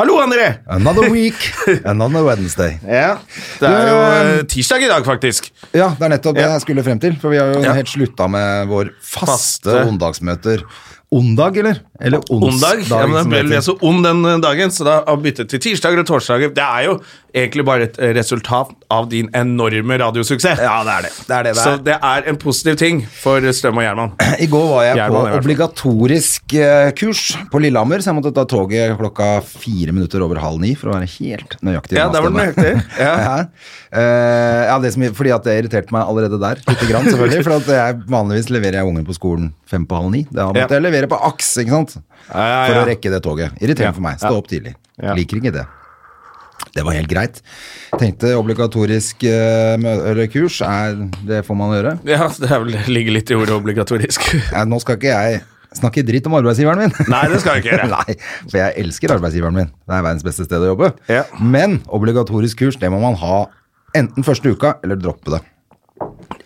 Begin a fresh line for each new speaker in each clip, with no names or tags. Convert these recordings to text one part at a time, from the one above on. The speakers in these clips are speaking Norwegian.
Hallo, André!
Another week, another Wednesday. ehm,
Ja, Det er jo eh, tirsdag i dag, faktisk.
Ja, det er nettopp det
Ja.
jeg skulle frem til. For vi har jo
Ja.
helt slutta med vår faste,
Faste.
ondagsmøter. Ondag, eller? Eller
Ondag.
onsdag.
Ja, men Den
som
ble
det heter.
vel så ond den eh, dagen, så da har vi byttet til tirsdager og torsdager. Det er jo egentlig bare et eh, resultat av din enorme radiosuksess.
Ja, det er det. Det er det det
Så
er.
det er en positiv ting for Strøm og Gjerman.
I går var jeg
Gjerne, i
på
hvert fall.
obligatorisk eh, kurs på Lillehammer, så jeg måtte ta toget klokka fire minutter over halv ni for å være helt nøyaktig. i
Ja, der var du
avstanden.
nøyaktig. Ja.
Ja. Eh, ja, det som, fordi at det irriterte meg allerede der, lite grann selvfølgelig. For at jeg, vanligvis leverer jeg ungen på skolen fem på halv ni. Da måtte
Ja.
jeg levere på aks, ikke sant?
ja,
For å
ja.
rekke det toget. Irriterende
Ja,
for meg.
ja.
Stå opp tidlig.
Ja.
Liker ikke det. Det var helt greit. Tenkte obligatorisk eh, mø- eller kurs, er, det får man gjøre.
Ja, det er vel ligger litt i ordet obligatorisk.
Ja, nå skal ikke jeg snakke dritt om arbeidsgiveren min.
Nei, det skal jeg ikke gjøre.
Nei, for jeg elsker arbeidsgiveren min. Det er verdens beste sted å jobbe.
Ja.
Men obligatorisk kurs, det må man ha enten første uka, eller droppe det.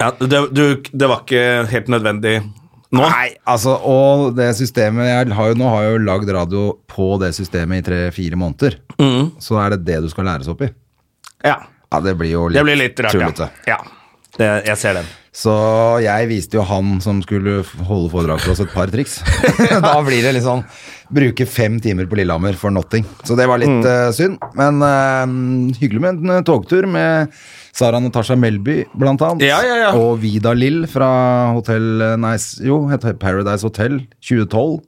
Ja, det, du, det var ikke helt nødvendig nå.
Nei, altså, og det systemet jeg har jo nå, har jeg jo lagd radio på det systemet i tre-fire måneder.
Mm.
Så er det det du skal læres opp i.
Ja,
Ja, det blir jo litt,
det blir litt rart, ja.
tullete.
ja. Det, jeg ser den.
Så jeg viste jo han som skulle f- holde foredrag for oss et par triks. da blir det litt sånn bruke fem timer på Lillehammer for nothing. Så det var
Mm.
litt eh, synd. Men eh, hyggelig med en eh, togtur med Sara Natasha Melby blant annet.
Ja, ja, ja.
Og Vida Lill fra Hotel eh, Nei, s- jo, heter Paradise Hotel 2012.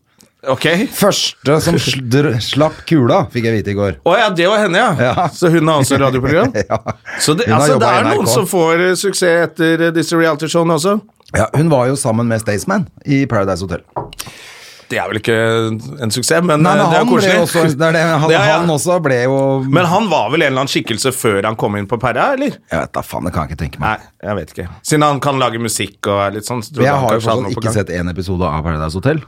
Ok.
Første som sl dr- slapp kula, fikk jeg vite i går.
Å ja, det var henne, ja.
Ja.
Så hun har også radioprogram?
Ja.
Så det,
Hun har
altså, det
jobbet i
er noen
NRK.
som får eh, suksess etter eh, disse realityshowene også.
Ja, hun var jo sammen med Staysman i Paradise Hotel.
Det er vel ikke en suksess, men,
Nei,
eh,
men
det er
han
jo
ble
koselig.
jo også, det er det, han,
Ja, ja.
han også ble jo
Men han var vel en eller annen skikkelse før han kom inn på Perra, eller?
Jeg vet da faen, det kan jeg ikke tenke
Nei,
meg.
jeg vet ikke. Siden han kan lage musikk og er litt sånn. Så tror
Men jeg
han
har jo
kanskje hadde
fortsatt
noe på
ikke
gang.
sett en episode av Paradise Hotel.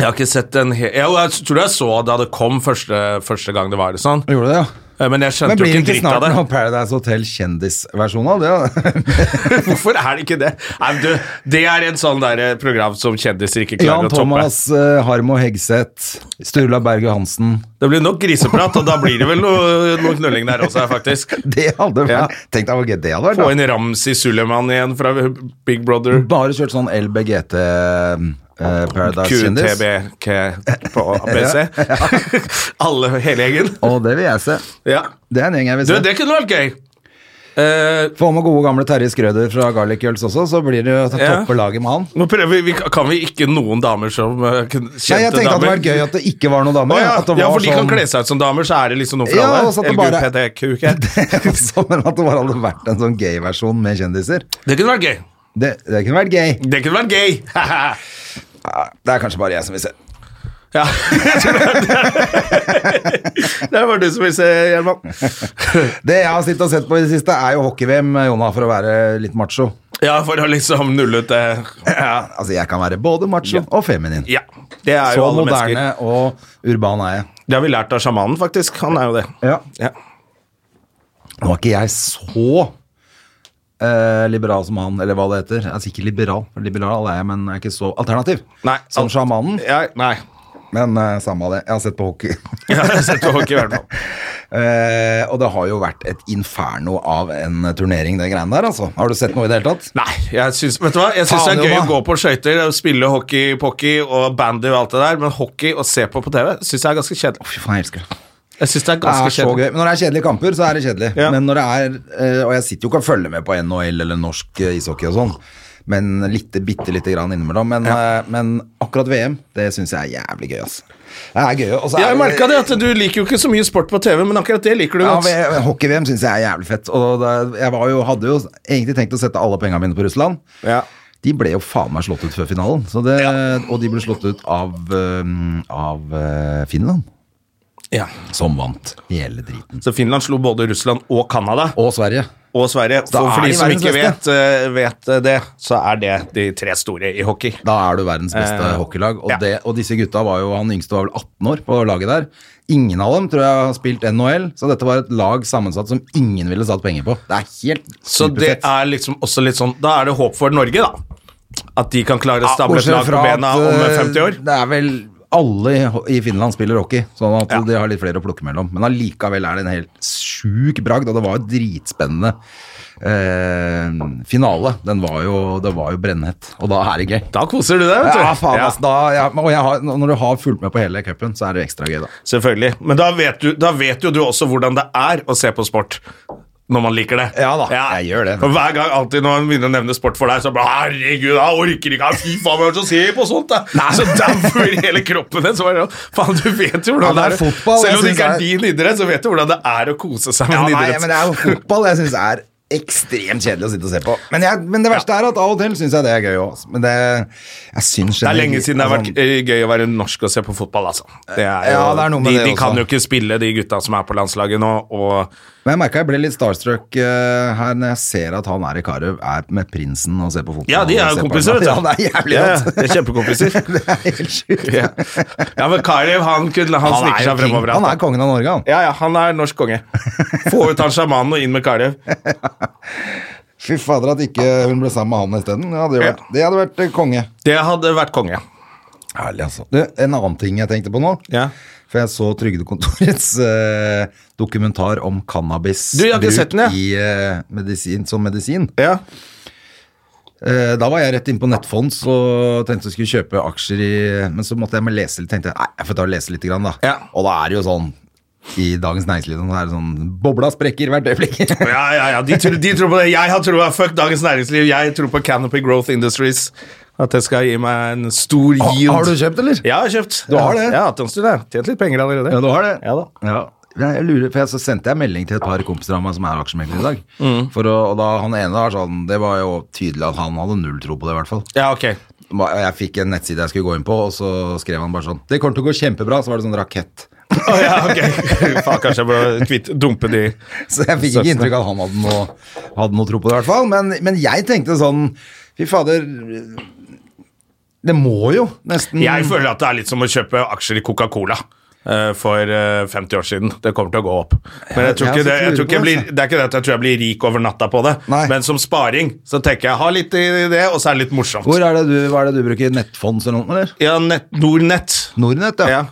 Jeg har ikke sett en hel... Jo, jeg tror jeg så da det kom første, første gang det var det sånn.
Gjorde det, ja.
Eh, Men jeg
Men
skjønte jo
blir det
ikke en
ikke
dritt
snart
av det.
noe Paradise Hotel kjendisversjon av det? da?
Hvorfor er det ikke det? Nei, men du, det er en sånn der eh, program som kjendiser ikke klarer
Jan
å toppe.
Thomas, eh, Harmo Hegseth, Sturla Berg Johansen.
Det blir nok griseprat, og da blir det vel noe, noe knulling der også, faktisk.
Det hadde vært
Ja.
Tenk deg hvor gøy det hadde
Få
vært.
inn Ramsi Suleiman igjen fra Big Brother.
da. Bare kjørt sånn LBGT eh, Paradise kjendis.
QTBK på ABC. Alle, hele gjengen.
Og det vil jeg se.
Ja.
Det er en gjeng jeg vil
Du,
se.
det kunne vært gøy! Eh,
Få med gode gamle Terje Skrøder fra Garlic Girls også, så blir det jo å
Ja.
toppe laget med han.
nå prøver vi, Kan vi ikke noen damer som eh, kun-
Nei,
kjente
jeg tenkte at det
damer?
var gøy at det ikke var noen
Å
damer.
ja.
at det
ja,
var
for de kan
sånn-
kle seg ut som damer, så er det liksom noe for
Ja,
alle.
og så at det bare-
LGBTQ.
Sånn at det bare hadde vært en sånn gay-versjon med kjendiser.
Det kunne vært gøy.
Det, det kunne vært gøy.
Det kunne vært gøy!
Ja, Det er kanskje bare jeg som vil se.
ja, jeg tror det. det var du som ville se, Gjerman.
Det jeg har sittet og sett på i det siste, er jo hockey-VM, Jonna, for å være litt macho.
Ja, for å liksom nulle ut det.
Ja, altså, jeg kan være både macho og feminin.
Ja, det er jo
Så
alle
moderne
mennesker.
og urban er jeg.
Det har vi lært av sjamanen, faktisk. Han er jo det.
Ja.
Ja.
Nå er ikke jeg så eh, liberal som han, eller hva det heter. Altså ikke liberal, for liberal er jeg, men jeg er ikke så alternativ
Nei,
som
al-
sjamanen.
Ja, nei.
Men eh, samme av det, jeg har sett på hockey.
Jeg har sett på hockey, i hvert fall.
Eh, og det har jo vært et inferno av en turnering, det greiene der, altså. Har du sett noe i det hele tatt?
Nei, jeg syns, vet du hva? Jeg syns det
Faen,
er gøy å
Jonna.
gå på skøyter og spille hockey-pocky og bandy og alt det der, men hockey og se på på TV syns jeg er ganske kjedelig.
Fy faen, jeg elsker det.
Jeg synes det er
Det er
ganske
så
kjedelig.
gøy. Men når det er kjedelige kamper, så er det kjedelig.
Ja.
Men når det er, eh, Og jeg sitter jo ikke og følger med på NHL eller norsk eh, ishockey og sånn, men litt, bitte lite grann innimellom. Men, eh, men akkurat VM, det syns jeg er jævlig gøy, altså. Det er gøy. Og så er
Jeg
det-
merka det at du liker jo ikke så mye sport på TV, men akkurat det liker du
Ja,
godt.
men Hockey-VM syns jeg er jævlig fett. Og det, jeg var jo, hadde jo egentlig tenkt å sette alle pengene mine på Russland.
Ja.
De ble jo faen meg slått ut før finalen, så det, og de ble slått ut av, øhm, av øh, eh, Finland.
Ja.
som vant hele driten.
Så Finland slo både Russland og Canada
Og Sverige.
og Sverige.
Da
For,
er
for de
de
som
verdens
ikke vet,
beste.
eh, vet eh, det, så er det de tre store i hockey.
Da er du verdens beste
Eh,
hockeylag. Og,
ja.
det, og disse gutta var jo Han yngste var vel 18 år på laget der. Ingen av dem tror jeg har spilt NHL, så dette var et lag sammensatt som ingen ville satt penger på. Det er helt
Så det
superfett.
er liksom også litt sånn Da er det håp for Norge, da. At de kan klare å stable et
Bortsett
lag på
fra
bena
at,
om eh,
eh,
50 år.
Det er vel alle i- i Finland spiller hockey, sånn at
Ja.
de har litt flere å plukke mellom. Men allikevel er det en helt sjuk bragd, og det var jo dritspennende eh, finale. Den var jo, det var jo brennhett, og da er det gøy.
Da koser du deg, vet du.
Ja, faen,
Ja.
ass, da, ja, og jeg har, når du har fulgt med på hele cupen, så er det ekstra gøy, da.
Selvfølgelig. Men da vet, du, da vet jo du også hvordan det er å se på sport. Når man liker det.
Ja da, jeg gjør det.
For hver gang alltid når man begynner å nevne sport for deg, så bare Herregud, jeg orker ikke! Fy faen, hva er det som ser på sånt? Da? Så derfor hele kroppen din. Så bare, faen, du vet jo hvordan
Ja, det er
det er.
fotball, jeg
Selv om det
synes
ikke er
det
din idrett, så vet du hvordan det er å kose seg med
Ja,
en
nei,
idrett.
men det er jo fotball jeg syns er ekstremt kjedelig å sitte og se på. Men, jeg, men det verste er at av og til syns jeg det er gøy òg. Men det, jeg synes
Det er
generelt-
lenge siden det har vært
sånn-
eh, gøy å være norsk og se på fotball, altså. Det er jo,
Ja, det er noe med
de,
det
de kan
også.
jo ikke spille, de gutta som er på landslaget nå, og
Men jeg merka jeg ble litt starstruck eh, her når jeg ser at han er i Karøv, er med prinsen og ser på fotball.
Ja, de er
og
jo
ser på-
kompiser, vet du.
Ja, det er jævlig
Ja,
rått.
det er kjempekompiser.
det er helt sjukt.
Ja, ja men Karev, han, kunne, han,
Han,
sniker
er jo
seg
king.
fremover.
han er kongen av Norge, han.
Ja, ja, han er norsk konge. Få ut han sjamanen og inn med Karev.
Fy fader at ikke hun ble sammen med han isteden. Ja, det, hadde vært- det hadde vært eh, konge.
Det hadde vært konge.
Herlig, altså. Du, en annen ting jeg tenkte på nå.
Ja.
For jeg så Trygdekontorets eh, dokumentar om cannabisbruk
Du, jeg har ikke sett den, jeg.
i, eh, medisin, som medisin.
Ja.
Eh, da var jeg rett inn på Nettfonds og tenkte jeg skulle kjøpe aksjer i Men så måtte jeg med lese litt, tenkte jeg nei, jeg får ta og lese litt, grann, da.
Ja.
Og da er det jo sånn i Dagens Næringsliv så er det sånn Bobla sprekker hvert øyeblikk.
Ja, ja, ja, de tror, de tror på det. Jeg har troa. Fuck Dagens Næringsliv. Jeg tror på Canopy Growth Industries. At det skal gi meg en stor
Har-
yield.
har du kjøpt, eller?
Ja, jeg har kjøpt.
Du har det?
Jeg har hatt en stund, jeg. Tjent litt penger allerede.
Ja, du har det?
Ja da.
Ja. Jeg jeg lurer, for jeg, Så sendte jeg melding til et par kompiser av meg som er aksjemegler i dag.
Mm.
For å, og da Han ene var sånn Det var jo tydelig at han hadde null tro på det, i hvert fall.
Ja, ok.
Ba- Jeg fikk en nettside jeg skulle gå inn på, og så skrev han bare sånn Det kommer til å gå kjempebra. Så var det sånn rakett.
Å ja, ok. Faen, kanskje jeg burde kvitt, dumpe de
Så jeg fikk ikke inntrykk av at han hadde noe, hadde noe tro på det, i hvert fall. Men, men jeg tenkte sånn Fy fader. Det må jo nesten
Jeg føler at det er litt som å kjøpe aksjer i Coca-Cola. eh, For eh, 50 år siden. Det kommer til å gå opp. Men jeg tror
Ja,
ikke
jeg
det,
har
jeg
sett
tror ikke jeg
lurer
blir,
på
det er ikke det at jeg tror jeg blir rik over natta på det,
Nei.
men som sparing så tenker jeg ha litt i det, og så er det litt morsomt.
Hvor er det du, Hva er det du bruker? Nettfonds eller noe? Eller?
Ja, nett, Nordnett.
Nordnett, ja.
Ja.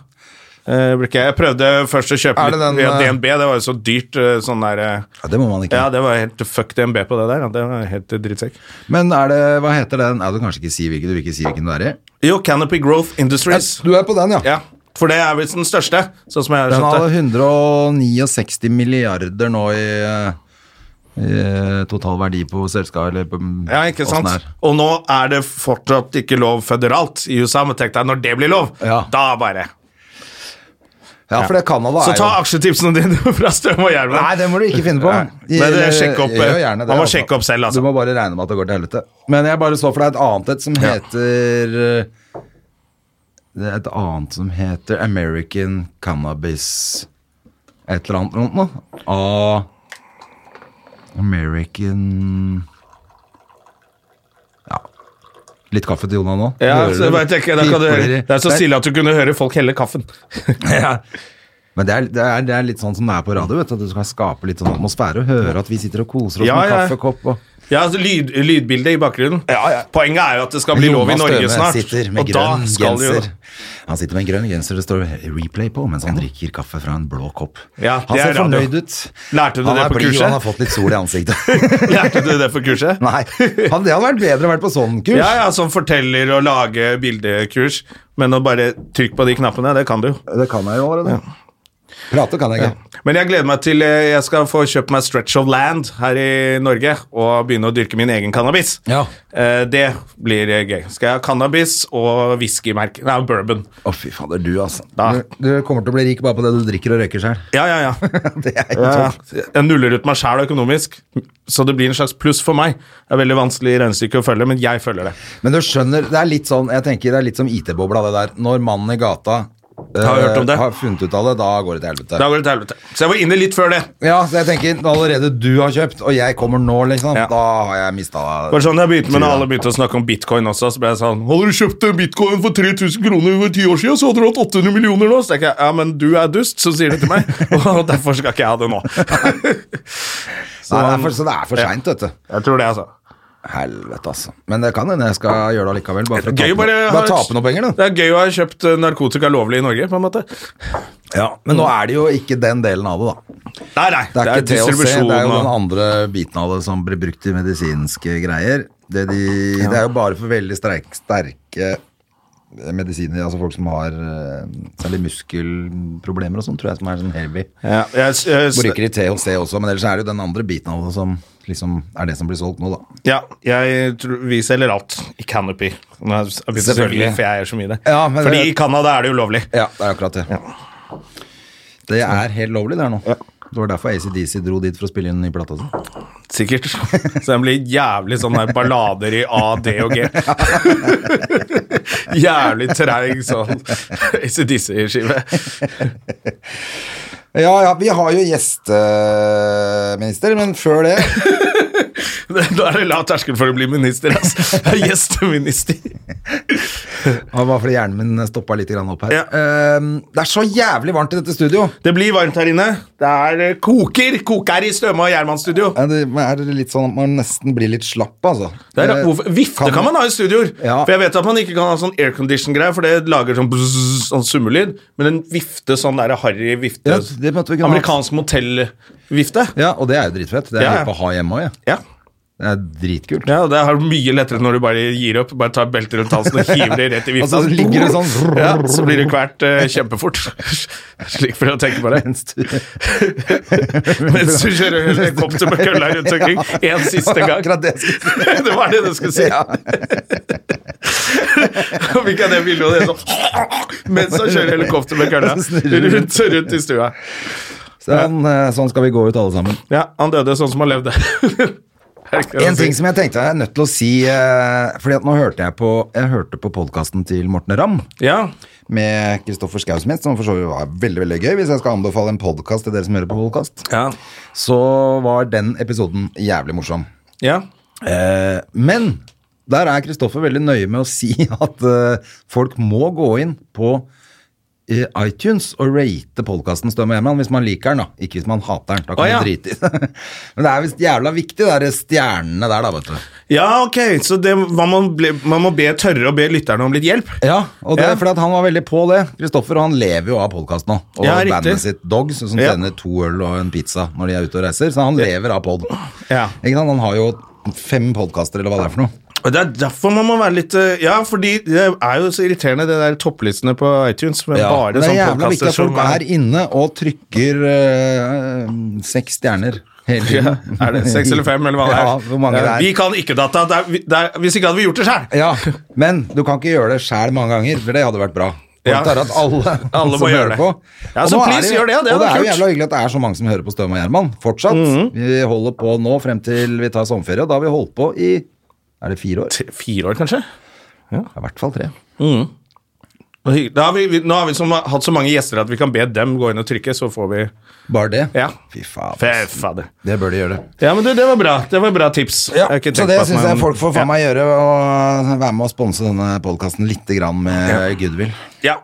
Eh, blir ikke jeg- Jeg prøvde først å kjøpe
Er det
litt
den,
via
eh,
DNB, det var jo så dyrt. eh, Sånn der, eh,
Ja, Det må man ikke.
ja, det var helt fuck DNB på det der. ja. Det var helt eh, drittsekk.
Men er det Hva heter den? Ja, du kan kanskje ikke si hvilken du vil ikke si hvilken du er i?
Jo, Canopy Growth Industries.
Du er på den,
Ja, For det er visst den største, sånn som jeg har
Den
skjønt det.
hadde 169 milliarder nå i, eh, i total verdi på selskap, eller på,
Ja, ikke
åssen
sant?
det er.
Og nå er det fortsatt ikke lov føderalt i USA, men tenk deg når det blir lov,
Ja.
da bare.
Ja, for det Canada
Så
er
ta
jo
aksjetipsene dine fra Støm og Gjerman.
Nei, det må du ikke finne på.
Nei. Men det- sjekk opp, eh,
Gjør gjerne det,
man må sjekke opp selv, altså.
Du må bare regne med at det går til helvete. Men jeg bare så for deg et annet et som heter eh, Det er et annet som heter American Cannabis Et eller annet rundt nå. A American Ja. Litt kaffe til Jonah nå.
Ja,
Hører
så
du?
bare tenker jeg, da kan du
Pipler
høre.
i-
Det er så stille at du kunne høre folk helle kaffen. ja.
Men det er, det, er, det er litt sånn som det er på radio, vet du. at Du skal skape litt sånn atmosfære og høre at vi sitter og koser oss
Ja,
med
ja.
kaffekopp og
altså lyd, lydbildet i bakgrunnen. Poenget er jo at det skal bli
Jonas
lov i Norge
Støme
snart.
Sitter med
og da
grønn
skal det jo-
genser. Han sitter med en grønn genser, det står replay på, mens han drikker kaffe fra en blå kopp.
Ja, det
han ser
er radio.
fornøyd ut.
Lærte du
han
det
er
på
blid, og
kurset?
Han har fått litt sol i ansiktet.
Lærte du det for kurset?
Nei, han, det hadde vært bedre å vært på sånn kurs.
Ja, ja, som forteller og lager bildekurs. Men å bare trykke på de knappene, det kan du jo.
Det kan jeg jo allerede. Prate kan jeg ikke.
Men jeg gleder meg til eh, jeg skal få kjøpt meg stretch of land her i Norge og begynne å dyrke min egen cannabis.
Ja.
Eh, Det blir eh, gøy. Skal jeg ha cannabis og whiskymerke Nei, bourbon.
Å, fy fader, du altså.
Da.
Du, du kommer til å bli rik bare på det du drikker og røyker sjøl.
Ja, ja, ja.
Det er helt
Ja, ja.
topp.
Jeg nuller ut meg sjæl økonomisk, så det blir en slags pluss for meg. Det er veldig vanskelig regnestykke å følge, men jeg følger det.
Men du skjønner, det er litt sånn, jeg tenker det er litt som IT-bobla det der. Når mannen i gata
Har hørt om det.
Har funnet ut av det, da går det til helvete.
Da går det til helvete. Så jeg var inne litt før det.
Ja, så jeg tenker allerede du har kjøpt, og jeg kommer nå, liksom.
Ja.
Da har jeg mista
Bare sånn jeg begynte med Når alle begynte å snakke om bitcoin også, så ble jeg sånn Hadde du kjøpt en bitcoin for 3000 kroner for ti år siden, så hadde du hatt 800 millioner nå. Så tenker jeg ja, men du er dust som sier det til meg, og derfor skal ikke jeg ha det nå.
Så, Nei, det er for, så det er for seint, vet du.
Jeg tror det, altså.
Helvete, altså. Men det kan hende jeg skal gjøre det allikevel. Bare for å
Gøy å
tape,
bare
noe-
ha-
bare tape noen penger, da.
Det er gøy å ha kjøpt eh, narkotika lovlig i Norge, på en måte.
Ja, men nå er det jo ikke den delen av det, da.
Nei, nei.
Det er, ikke THC, det er jo den
og-
andre biten av det som blir brukt i medisinske greier. Det, de, det er jo bare for veldig sterk, sterke medisiner, altså folk som har eh, særlig muskelproblemer og sånn, tror jeg, som er sånn heavy.
ja, jeg, jeg,
Bruker de THC også, men ellers er det jo den andre biten av det som liksom er det som blir solgt nå, da.
ja, jeg tror vi selger alt i Canopy. Nå har jeg begynt å
Selvfølgelig.
spørre, For jeg er så mye i det.
Ja, men
Fordi
det-
i Canada er det ulovlig.
Ja, det er akkurat det. Det er helt lovlig der nå. Det var derfor ACDC dro dit for å spille inn en ny plate. Altså.
Sikkert. Så den blir jævlig sånn der ballader i A, D og G. jævlig treig sånn ACDC-skive.
Ja, ja, vi har jo gjesteminister, men før det
Da er det lav terskel for å bli minister, ass. Gjesteminister.
Ja, bare fordi hjernen min stoppa litt grann opp her.
Ja.
Ehm, det er så jævlig varmt i dette studio.
Det blir varmt her inne. Det er eh, koker koker i Støme og Gjerman studio.
Er det, men er det litt sånn at man nesten blir litt slapp, altså?
Det er,
Eh,
hvorfor, vifte kan, man ha i studioer.
Ja.
For jeg vet at man ikke kan ha sånn aircondition-greie, for det lager sånn, bzzz, sånn summelyd. Men en vifte, sånn der harry vifte
Ja, det måtte vi kunne ha.
Amerikansk motell-vifte.
Ja, og det er jo dritfett. Det er
Ja, ja.
litt på ha hjemme òg, jeg.
Ja.
Det er dritkult.
ja, og det er mye lettere når du bare gir opp. Bare tar beltet rundt halsen og hiver det rett i vifta.
Og så ligger det sånn-
ja, Så blir det kvert eh, kjempefort. Slik for å tenke på det.
Mens du-
Mens du kjører helikopter med kølla rundt omkring en siste
Det var
gang.
akkurat det jeg skulle si.
det var det du skulle si.
Ja.
Og fikk jeg det bildet og det er sånn Mens han kjører helikopter med kølla
Så snurrer du.
rundt, rundt i stua.
Sånn, eh, sånn skal vi gå ut, alle sammen.
Ja, han døde sånn som han levde. Er det ikke det
En
å si?
ting som jeg tenkte jeg er nødt til å si eh, Fordi at nå hørte jeg på Jeg hørte på podkasten til Morten Ramm.
Ja.
med Kristoffer Skausmith, som for så vidt var veldig veldig gøy. Hvis jeg skal anbefale en podkast til dere som hører på podkast,
Ja.
så var den episoden jævlig morsom.
ja.
Eh, men der er Kristoffer veldig nøye med å si at eh, folk må gå inn på eh, iTunes og rate podkasten Støm og Gjerman hvis man liker den, da. Ikke hvis man hater den. Da kan
Å, ja.
man drite i det. Men det er visst jævla viktig, de der stjernene der, da, vet du.
ja, ok, så det, man, må bli, man må be tørre å be lytterne om litt hjelp.
Ja, og det
Ja.
er fordi at han var veldig på det. Kristoffer og han lever jo av podkast nå. Og
Ja, riktig.
bandet sitt Dogs, som
Ja.
tjener to øl og en pizza når de er ute og reiser. Så han lever av pod.
Ja.
Ikke sant? Han har jo fem podkaster, eller hva det er for noe.
Og Det er derfor man må være litt eh, Ja, fordi det er jo så irriterende, det der topplistene på iTunes. Med
Ja,
bare
det er
sånne
jævla viktig
podcaster
at folk
som
er inne og trykker eh, seks stjerner hele
Ja,
tiden.
er det seks eller fem, eller hva det er?
Ja, hvor mange det er.
Vi kan ikke data. Det er, det er, hvis ikke hadde vi gjort det sjøl.
Ja, men du kan ikke gjøre det sjæl mange ganger, for det hadde vært bra. Folk
Ja.
tar at alle,
Alle må
som
gjøre
hører
det.
På.
Ja,
Og
så
nå er
please, gjør det, det
og
hadde
det er jo
vært kult. Mhm.
jævla hyggelig at det er så mange som hører på Støm og Gjerman fortsatt. Vi holder på nå frem til vi tar sommerferie, og da har vi holdt på i er det fire år?
Fire år, kanskje?
Ja, I hvert fall tre.
Og hygg- Da har vi, vi, nå har vi som, hatt så mange gjester at vi kan be dem gå inn og trykke, så får vi
Bare det?
Ja.
Fy faen.
Fy
ass.
fader.
Det bør de gjøre. det.
Ja, men du, det var bra. Det var bra tips.
Ja,
Jeg har ikke
så
tenkt
det
på at
syns
man-
jeg folk får
Ja.
faen meg gjøre, og være med å sponse denne podkasten lite grann med goodwill.
Ja.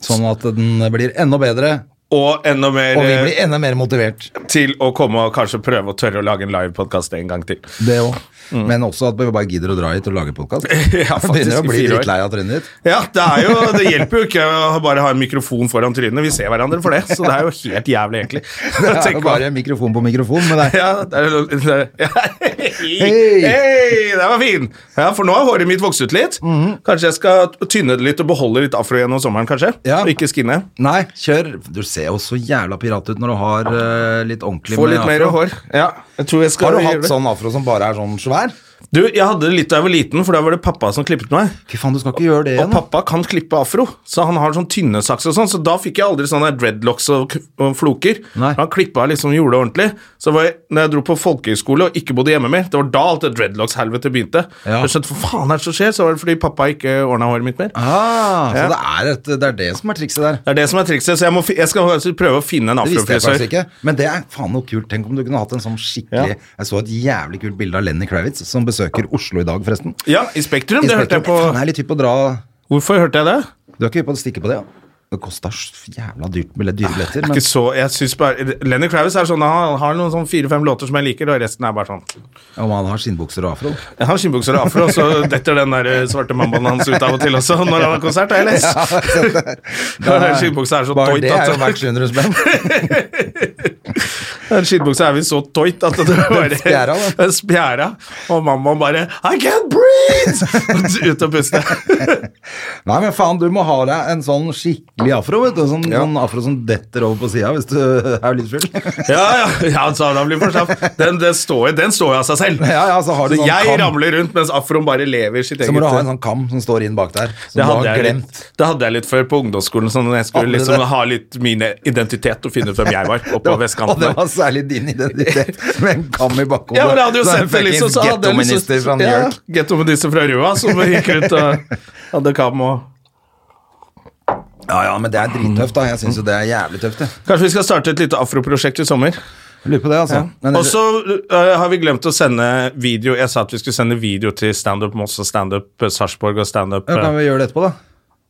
Sånn at den blir enda bedre,
Og enda mer
og vi
eh,
blir enda mer motivert.
til å komme og kanskje prøve å tørre å lage en livepodkast en gang til.
Det òg. Men også at vi bare gidder å dra hit og lage podkast.
Mm. Ja, faktisk,
Begynner å
i
bli
fire år.
drittlei av trynet ditt.
Ja, det, er jo, det hjelper jo ikke å bare ha en mikrofon foran trynet. Vi ser hverandre for det, så det er jo helt jævlig, egentlig.
Det er
Tenk
jo
hva-
bare mikrofon på mikrofon, men det er
Ja, det er, det er, ja. Hei,
Hei!
den var fin! Ja, For nå har håret mitt vokst ut litt.
Mhm.
Kanskje jeg skal tynne det litt og beholde litt afro gjennom sommeren, kanskje?
Ja.
Og ikke skinne.
Nei, kjør. Du ser jo så jævla pirat ut når du har eh, litt ordentlig
Få litt mer
afro.
hår. Ja, jeg tror jeg skal
Har du
gjøre
hatt
det.
sånn afro som bare er sånn svær?
Du, jeg hadde det litt da jeg var liten, for da var det pappa som klippet meg.
Fy faen, du skal ikke gjøre det
Og
igjen. da.
pappa kan klippe afro, så han har sånn tynne sakser og sånn, så da fikk jeg aldri sånne dreadlocks og, k- og floker.
Nei.
Han klippa liksom, gjorde det ordentlig. Så var jeg, når jeg dro på folkehøyskole og ikke bodde hjemme mer, det var da alt det dreadlocks-helvete begynte.
Ja.
Jeg skjønte, hva faen er det som skjer? Så var det fordi pappa ikke ordna håret mitt mer.
Ah, så
Ja.
det, er et, det er det som er trikset der.
Det er det som er trikset, så jeg, må, fi- jeg skal faktisk prøve å finne en
Det visste jeg faktisk
afrofrisør.
ikke. Men det er faen noe kult. Tenk om du kunne hatt en sånn
Ja.
skikkelig Jeg så et jævlig kult bilde av Lenny Kravitz, som besøker Oslo i dag, forresten.
Ja, i Spektrum, det hørte jeg på.
Han er litt hypp på å dra
Hvorfor hørte jeg det?
Du er ikke hypp på å stikke på det, ja? Det kosta jævla dyrt med dyre billetter.
Ikke så, Ah, jeg synes bare, Lenny Kravitz er sånn, han har noen sånn fire-fem låter som jeg liker, og resten er bare sånn
Men om han har skinnbukser og afro.
Jeg har skinnbukser og afro, så detter den der eh, svarte mambaen hans ut av og til også når han har konsert, har jeg lest. Den der skinnbuksa er så altså.
Bare
tøyt
det er jo
at
verdt 700 spenn.
den skinnbuksa er visst så tøyt at det bare
spjæra, da.
Den spjæra. Og mammaen bare I can't breathe! Ut og puste.
Nei, men faen, du må ha deg en sånn skikkelig afro, vet du. Sånn, sånn afro som detter over på sida hvis du er litt full.
Ja, ja. ja så han blir for slapp. Den, den, står, jo- den står jo av seg selv.
Ja, ja, så har du
Så
sånn
jeg
kam.
ramler rundt mens afroen bare lever sitt
Så
eget
må du ha en sånn kam som står inn bak der,
det
som du
hadde,
har
jeg
glemt.
litt, det hadde jeg litt før på ungdomsskolen, sånn at jeg skulle
Hadde du
liksom
det?
ha litt min identitet og finne ut hvem jeg var. Oppå
og
vestkanten.
det
der.
var særlig din identitet, med en kam i bakhodet.
Ja, men jeg hadde jo
Så en
sett det liksom,
fuckings
så hadde jeg
ghettominister
liksom
fra New
Ja,
York.
Ghettominister fra Røa som gikk rundt og hadde kam og
Ja, ja, men det er drittøft, da. Jeg syns jo det er jævlig tøft, jeg.
Kanskje vi skal starte et lite afroprosjekt i sommer.
Jeg Lurer på det, altså. Men
Og så øh, har vi glemt å sende video. Jeg sa at vi skulle sende video til Standup Moss og Standup eh, Sarpsborg og Standup
ja, kan
øh,
vi gjøre det etterpå, da?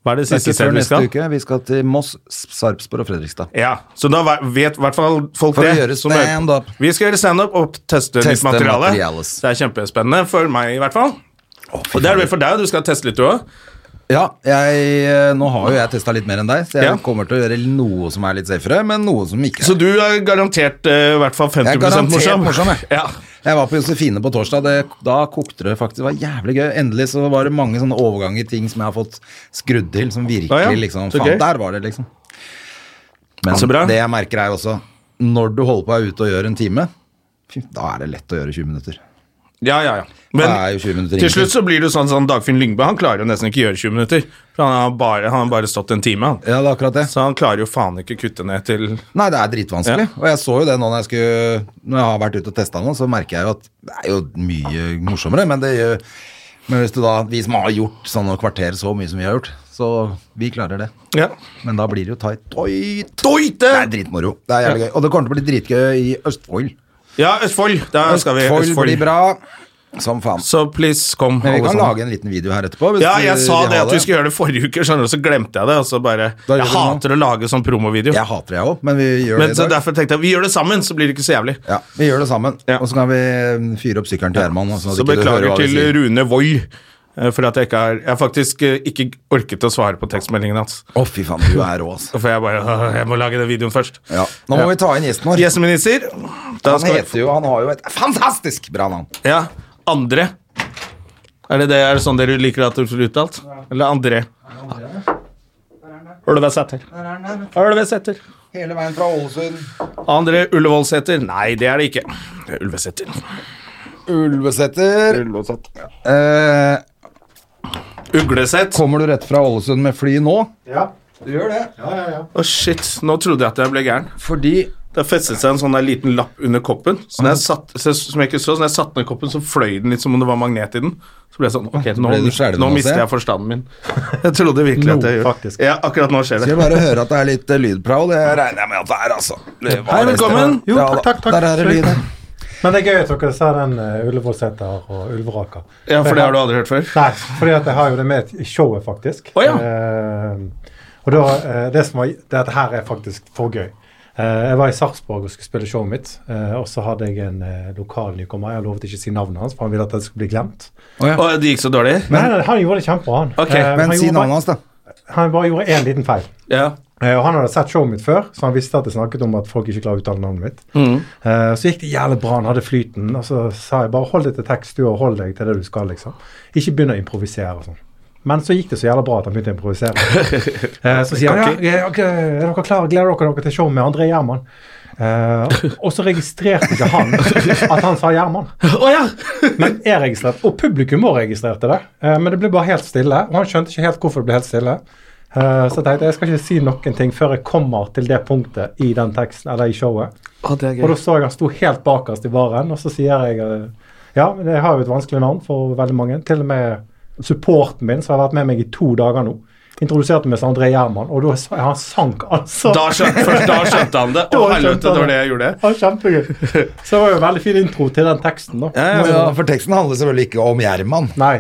Hva er det
Det er
siste
ikke før
stedet vi
neste
skal?
uke. Vi skal til Moss, Sarpsborg og Fredrikstad.
Ja, Så da ve- vet i hvert fall folk
For å
det.
gjøre
som hører på.
stand-up.
Vi skal gjøre standup og teste, nytt
Teste
materiale.
materiales.
Det er kjempespennende for meg, i hvert fall. og det er det vel for deg, du skal teste litt, du òg.
Ja, jeg, eh, nå har jo jeg testa litt mer enn deg, så jeg
Ja.
kommer til å gjøre noe som er litt safere, men noe som ikke
Så
er.
du er garantert eh, i hvert fall 50
Jeg er garantert
morsom.
morsom, jeg.
Ja.
Jeg var på Josefine på torsdag. Det, da kokte det faktisk. Det var jævlig gøy. Endelig så var det mange sånne overganger, ting som jeg har fått skrudd til, som virkelig
Ja, ja.
liksom
Så
Faen,
gøy.
der var det, liksom. Men
Så bra.
det jeg merker, er også når du holder på å være ute og gjør en time, fy, da er det lett å gjøre 20 minutter.
Ja, ja, ja. Men
Det er jo 20 minutter
til
ingenting.
slutt så blir det sånn, sånn Dagfinn Lyngbø han klarer jo nesten ikke gjøre 20 minutter. For han har bare, han har bare stått en time, han.
Ja, det er akkurat det.
Så han klarer jo faen ikke kutte ned til
Nei, det er dritvanskelig. Og jeg så jo det nå når jeg, skulle, når jeg har vært ute og testa nå, så merker jeg jo at det er jo mye morsommere, men det gjør men hvis du da, vi som har gjort sånne kvarter så mye som vi har gjort, så vi klarer det.
Ja.
Men da blir det jo tight. Oi,
Doite!
det er dritmoro. Det er jævlig gøy. Og det kommer til å bli dritgøy i Østfold.
Ja, Østfold. Da skal vi
Østfold
Østfold.
blir bra som faen.
Så please, kom.
Men vi
alle
kan
sammen.
lage en liten video her etterpå. hvis
ja,
du
jeg sa
vil
det
ha
at vi skulle gjøre det forrige uke, skjønner du, så glemte jeg det. Og så bare
Da gjør
Jeg
vi det nå.
hater å lage sånn promovideo.
Jeg hater det, jeg òg, men vi gjør
Men
det
så
i dag.
derfor tenkte jeg vi gjør det sammen, så blir det ikke så jævlig.
Ja, vi gjør det sammen.
Ja.
Og så kan vi mm, fyre opp sykkelen til Herman. og sånn at
Så
ikke du
beklager
hører hva vi
til
sier.
Rune Wold eh, for at jeg ikke har Jeg har faktisk eh, ikke orket å svare på tekstmeldingen hans.
Å, fy faen, du er rå, altså.
Så får jeg bare «Åh, Jeg må lage den videoen først.
Ja. Nå må vi ta inn gjesten vår.
Gjesteminister. Da
Han
skal vi-
heter jo Han har jo et fantastisk bra navn.
Ja. Andre. Er det, det, er det sånn dere liker at det blir uttalt? Eller André? Ulvesæter. Ulvesæter.
Hele veien fra Ålesund.
André Ullevålsæter. Nei, det er det ikke. Det er Ulvesæter.
Ulveseter. Eh,
Uglesæt. Å,
kommer du rett fra Ålesund med fly nå?
shit. Nå trodde jeg at jeg ble gæren.
Fordi
Det festet seg en sånn der liten lapp under koppen. Så når jeg satt, så, som jeg ikke så, så når jeg satte ned koppen, så fløy den litt som om det var magnet i den. Så ble jeg sånn Ok, nå,
ble du skjelven
nå
også,
mister
ja?
jeg forstanden min. Jeg trodde virkelig at jeg
Nå,
gjorde
faktisk.
Ja, akkurat nå skjer
Skal
det.
vi bare høre at det er litt eh, lydprowl? Det regner jeg med at det er, altså. Det var
Hei,
det
velkommen.
stedet.
Jo,
Ja
takk,
da,
takk, takk.
Der er det lyd.
Men det er gøy at dere ser den uh, Ullevålseter og Ulveraker.
Ja, for det har du
Jeg
aldri hørt før.
Nei, fordi at jeg har jo det med i showet, faktisk.
Å, ja.
Eh, og da, eh, det som var, Dette her er faktisk for gøy. Eh, jeg var i Sarpsborg og skulle spille showet mitt. eh, og så hadde jeg en eh, lokal nykommer. Jeg lovet ikke å si navnet hans, for han ville at det skulle bli glemt.
Og det gikk så dårlig?
Men, nei, nei, han gjorde det kjempebra, han.
Ok,
Eh,
Men
han
si
gjorde
navnet hans, da.
Bare, han bare gjorde én liten feil.
Ja.
Eh, Og han hadde sett showet mitt før, så han visste at jeg snakket om at folk ikke klarer å uttale navnet mitt. Eh, Så gikk det jævlig bra, han hadde flyten, og så sa jeg bare hold deg til tekst, du, og hold deg til det du skal, liksom. Ikke begynn å improvisere og sånn. Men så gikk det så jævlig bra at han begynte å improvisere. Eh, så sier han ja, ok, er dere klare, gleder dere dere til showet med André Gjerman? Eh, og så registrerte ikke han at han sa Gjerman.
Å ja!
Men jeg registrerte, og publikum òg registrerte det. Eh, men det ble bare helt stille, og han skjønte ikke helt hvorfor det ble helt stille. Eh, så jeg tenkte jeg skal ikke si noen ting før jeg kommer til det punktet i den teksten, eller i showet.
Å, det er
Og da
gøy.
så jeg han sto helt bakerst i baren, og så sier jeg eh, Ja, men jeg har jo et vanskelig navn for veldig mange. Til og med supporten min, som har vært med meg i to dager nå, introduserte meg som André Gjerman, og da sa- han sank altså.
Da skjønte, først da skjønte han det. Å,
Da skjønte
helvete, det
han
var
det.
det jeg gjorde.
Det var kjempegøy. Så det var jo en veldig fin intro til den teksten, da.
Ja, ja.
Men, For teksten handler selvfølgelig ikke om Gjerman.
Nei,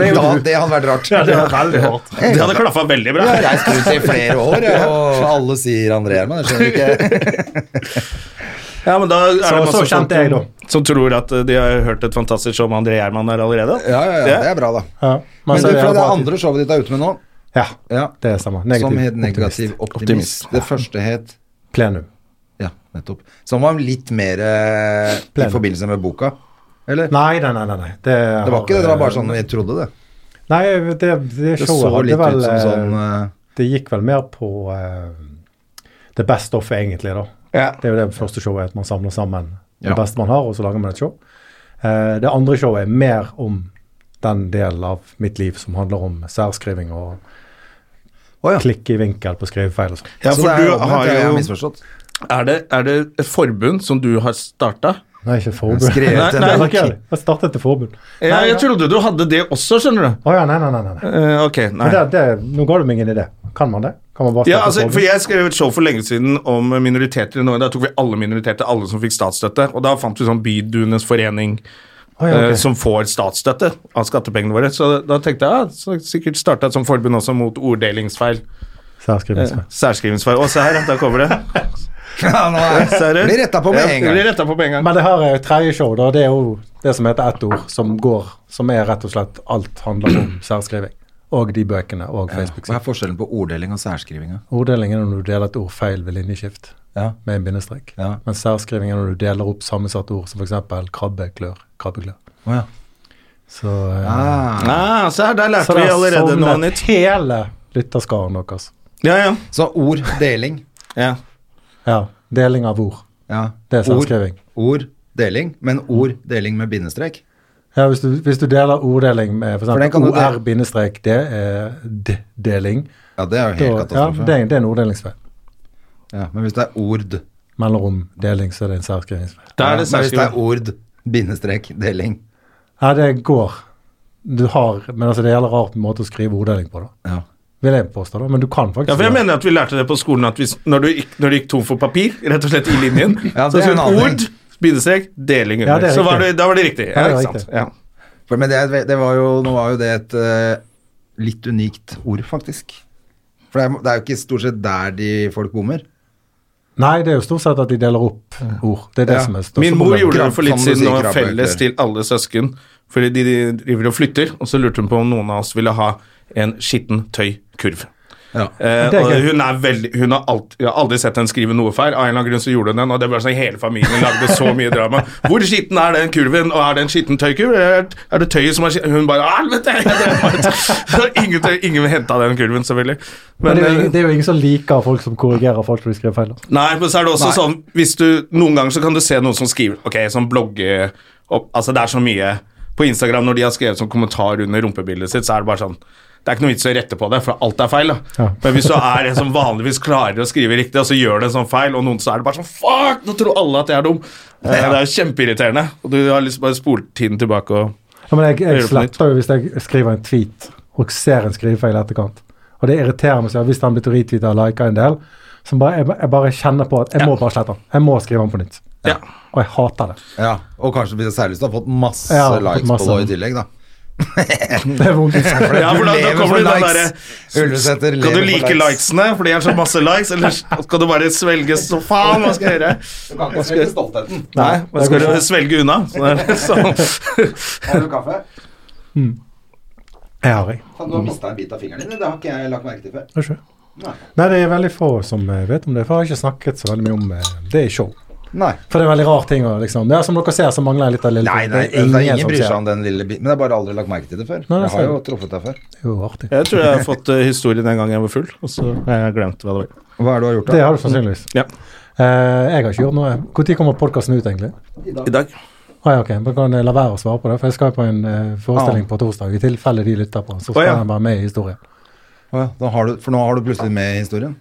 det er jo
da,
du.
det hadde vært rart.
Ja, det var veldig rart.
Det hadde klaffa veldig bra.
Jeg har reist rundt i flere år, og alle sier André Gjerman. Jeg skjønner ikke
Ja, men da er det
Så,
masse sånn
så
folk
kjente jeg, da.
Som tror at eh, de har hørt et fantastisk show med André Gjerman her allerede.
Ja, ja, ja, det er bra, da.
Ja.
Men
så
du,
er
fra
det
det
bare-
andre showet ditt er ute med nå,
Ja,
ja,
det stemmer.
som het
Negativ optimist.
Negativ optimist. Det første het
Plenum.
Ja, nettopp. Som var litt mer eh, i
Plenum.
forbindelse med boka, eller?
Nei, nei, nei. nei, nei. Det,
Det var ikke det, det var bare sånn jeg trodde det.
Nei, det, det
Det
showet
så
hadde
litt
vel
ut som sånn
eh,
eh,
Det gikk vel mer på eh, det beste offet, egentlig. da.
Ja.
Det er jo det første showet, at man samler sammen det
Ja.
beste man har, og så lager man et show. Eh, det andre showet er mer om den delen av mitt liv som handler om særskriving og
Å ja.
klikk i vinkel på skrivefeil og sånn.
Ja,
Så
for
det er
du
omvendt,
har
jeg har
jo
misforstått.
er det, er det et forbund som du har starta?
Nei, ikke forbud.
Skrevet
Nei,
en-
nei,
Jeg har ikke- jeg startet til forbud.
Ja, jeg trodde du hadde det også, skjønner du.
Å ja, nei, nei, nei. nei. nei.
Eh, ok, nei.
Men Det, det, nå ga du meg en idé. Kan man det? Kan man bare
Ja,
starte
altså,
forbud?
for Jeg skrev et show for lenge siden om minoriteter i Norge. Da tok vi alle minoriteter, alle som fikk statsstøtte. Og da fant vi sånn Byduenes forening
Å, ja, ok.
eh, som får statsstøtte av skattepengene våre. Så da tenkte jeg ja, så sikkert starta et sånt forbund også mot orddelingsfeil.
Særskrivningsfeil.
Særskrivingsfeil. Å, se her, da kommer det.
Ja, nå er
Ser du?
Blir rettet på med
Ja,
en gang.
Blir rettet på med en gang.
Men det her er jo tredje show, da. Det er jo det som heter ett ord, som går Som er rett og slett alt handler om særskriving. Og de bøkene og
Hva
Facebook-siden.
er forskjellen på orddeling og særskrivinga?
Orddelingen er når du deler et ord feil ved linjeskift
Ja.
med en bindestrek.
Ja.
Men særskriving er når du deler opp sammensatte ord, som f.eks. krabbeklør. Krabbeklør.
Å ja.
Så, eh,
Ah.
Ah, se her, der lærte
så
vi
der
allerede noe
sovnet
nytt.
hele lytterskaren altså. deres.
Ja, ja.
Så ord, deling.
ja.
Ja. Deling av ord.
Ja.
Det er
Ord,
særskriving.
ord, deling. Men ord, deling med bindestrek.
Ja, hvis du, hvis du deler orddeling med
For den
f.eks.
kan du dele-
OR-det er d-deling.
Ja, det er jo
Da-
helt
Ja,
katastrofe.
det, er- det er en orddelingsfeil.
Ja, men hvis det er ord
Mellom deling så er det en særskrivingsfeil.
Da
ja,
er det
Men hvis det er
særskriving.
ord, bindestrek, deling
Ja, det går. Du har, men altså det gjelder rart måte å skrive orddeling på, da.
ja.
Vil jeg påstå, da. Men du kan faktisk
Ja, for jeg
gjøre det.
mener at vi lærte det på skolen at hvis, når, du gikk, når du gikk tom for papir, rett og slett i linjen,
Ja,
så
det er en
skulle
annen
ord, bindestrek, deling
Ja,
under.
det er
så var det,
riktig.
da var det riktig. Ja,
Ja, det er
ikke sant.
riktig.
Ja.
For, Men det, det var jo, nå var jo det et eh, litt unikt ord, faktisk. For det er, det er jo ikke stort sett der de folk bommer.
Nei, det er jo stort sett at de deler opp
Mm.
ord. Det er det
Ja.
som er største
Min mor
problemet.
gjorde det for litt
Krabbe-
siden
som du
og
sier,
felles
krabbeklør.
til alle søsken, fordi de de driver og flytter, og så lurte hun på om noen av oss ville ha en skitten tøykurv.
Ja.
Eh,
Det er
og
gøy.
hun er veldig, hun har alt, jeg har aldri sett henne skrive noe feil. Av en eller annen grunn så gjorde hun den, og det var sånn hele familien lagde så mye drama. Hvor skitten er den kurven, og er det en skitten tøykurv, eller er det tøyet som er skitten? Hun bare Helvete! jeg drømmer ut." Så Ingen, tøy- ingen henta den kurven, selvfølgelig.
Men
Men,
det er, jo,
eh,
ingen- det er jo ingen som liker folk som korrigerer folk når de skriver feil. da.
Nei, men så er det også sånn hvis du, Noen ganger så kan du se noen som skriver Ok, som blogger opp, Altså det er så mye På Instagram når de har skrevet sånn kommentar under rumpebildet sitt Så er det bare sånn Det er ikke noe vits å rette på det For alt er feil da
Ja.
Men hvis du er en som vanligvis klarer å skrive riktig Og så gjør det en sånn feil Og noen så er det bare sånn Fuck, nå tror alle at jeg er dum Eh, Det er jo kjempeirriterende Og du har liksom bare spolt tiden tilbake og
Ja, men jeg,
Gjør
jeg
det på nytt.
sletter jo hvis jeg skriver en tweet og ser en skrivefeil i etterkant. Og det irriterer meg så hvis han blitt retweeta og lika en del. Så bare, jeg, jeg bare kjenner på at jeg må bare slette den. Jeg må skrive den på nytt.
Ja,
Og jeg hater det.
Ja, og kanskje hvis det særlig har fått masse
Ja, fått
likes
masse.
på det i tillegg, da.
Det er vondt. i seg.
ja for da, da
lever
kommer
for
du den
likes.
derre
Ulvesæter
Skal
lever
du
for
like
likes.
likesene fordi jeg har så masse likes, eller skal du bare svelge så faen? Hva skal jeg gjøre?
Du kan ikke svelge stoltheten.
Nei, man
det
skal
går
jo
ikke.
svelge unna. Så det er litt sånn.
Har du kaffe?
Jeg har jeg.
Faen, du har mista en bit av fingeren din. Det har ikke jeg lagt merke til før.
Har ikke? Nei, det er veldig få som eh, vet om det, for jeg har ikke snakket så veldig mye om eh, det i show.
Nei.
For det er en veldig rar ting å liksom Ja, som dere ser, så mangler jeg litt av lille
Nei, nei, altså,
det er ingen, som
bryr seg
ser.
om den lille biten. Men jeg har bare aldri lagt merke til det før.
Nei, det
jeg har
ser
jo
du.
truffet deg før.
Det er jo artig.
Jeg tror jeg har fått eh, historien en gang jeg var full, og så har jeg glemt hva det var.
Hva er det du har gjort,
Det
da?
har du sannsynligvis.
Ja.
Eh, jeg har ikke gjort noe. Når kommer podkasten ut, egentlig?
I dag.
Å ja, ok. Da kan jeg la være å svare på det, for jeg skal på en eh, forestilling på torsdag. I tilfelle de lytter på, så skal
Å, ja.
den være med i historien.
Å ja, da har du, for nå har du plutselig med historien.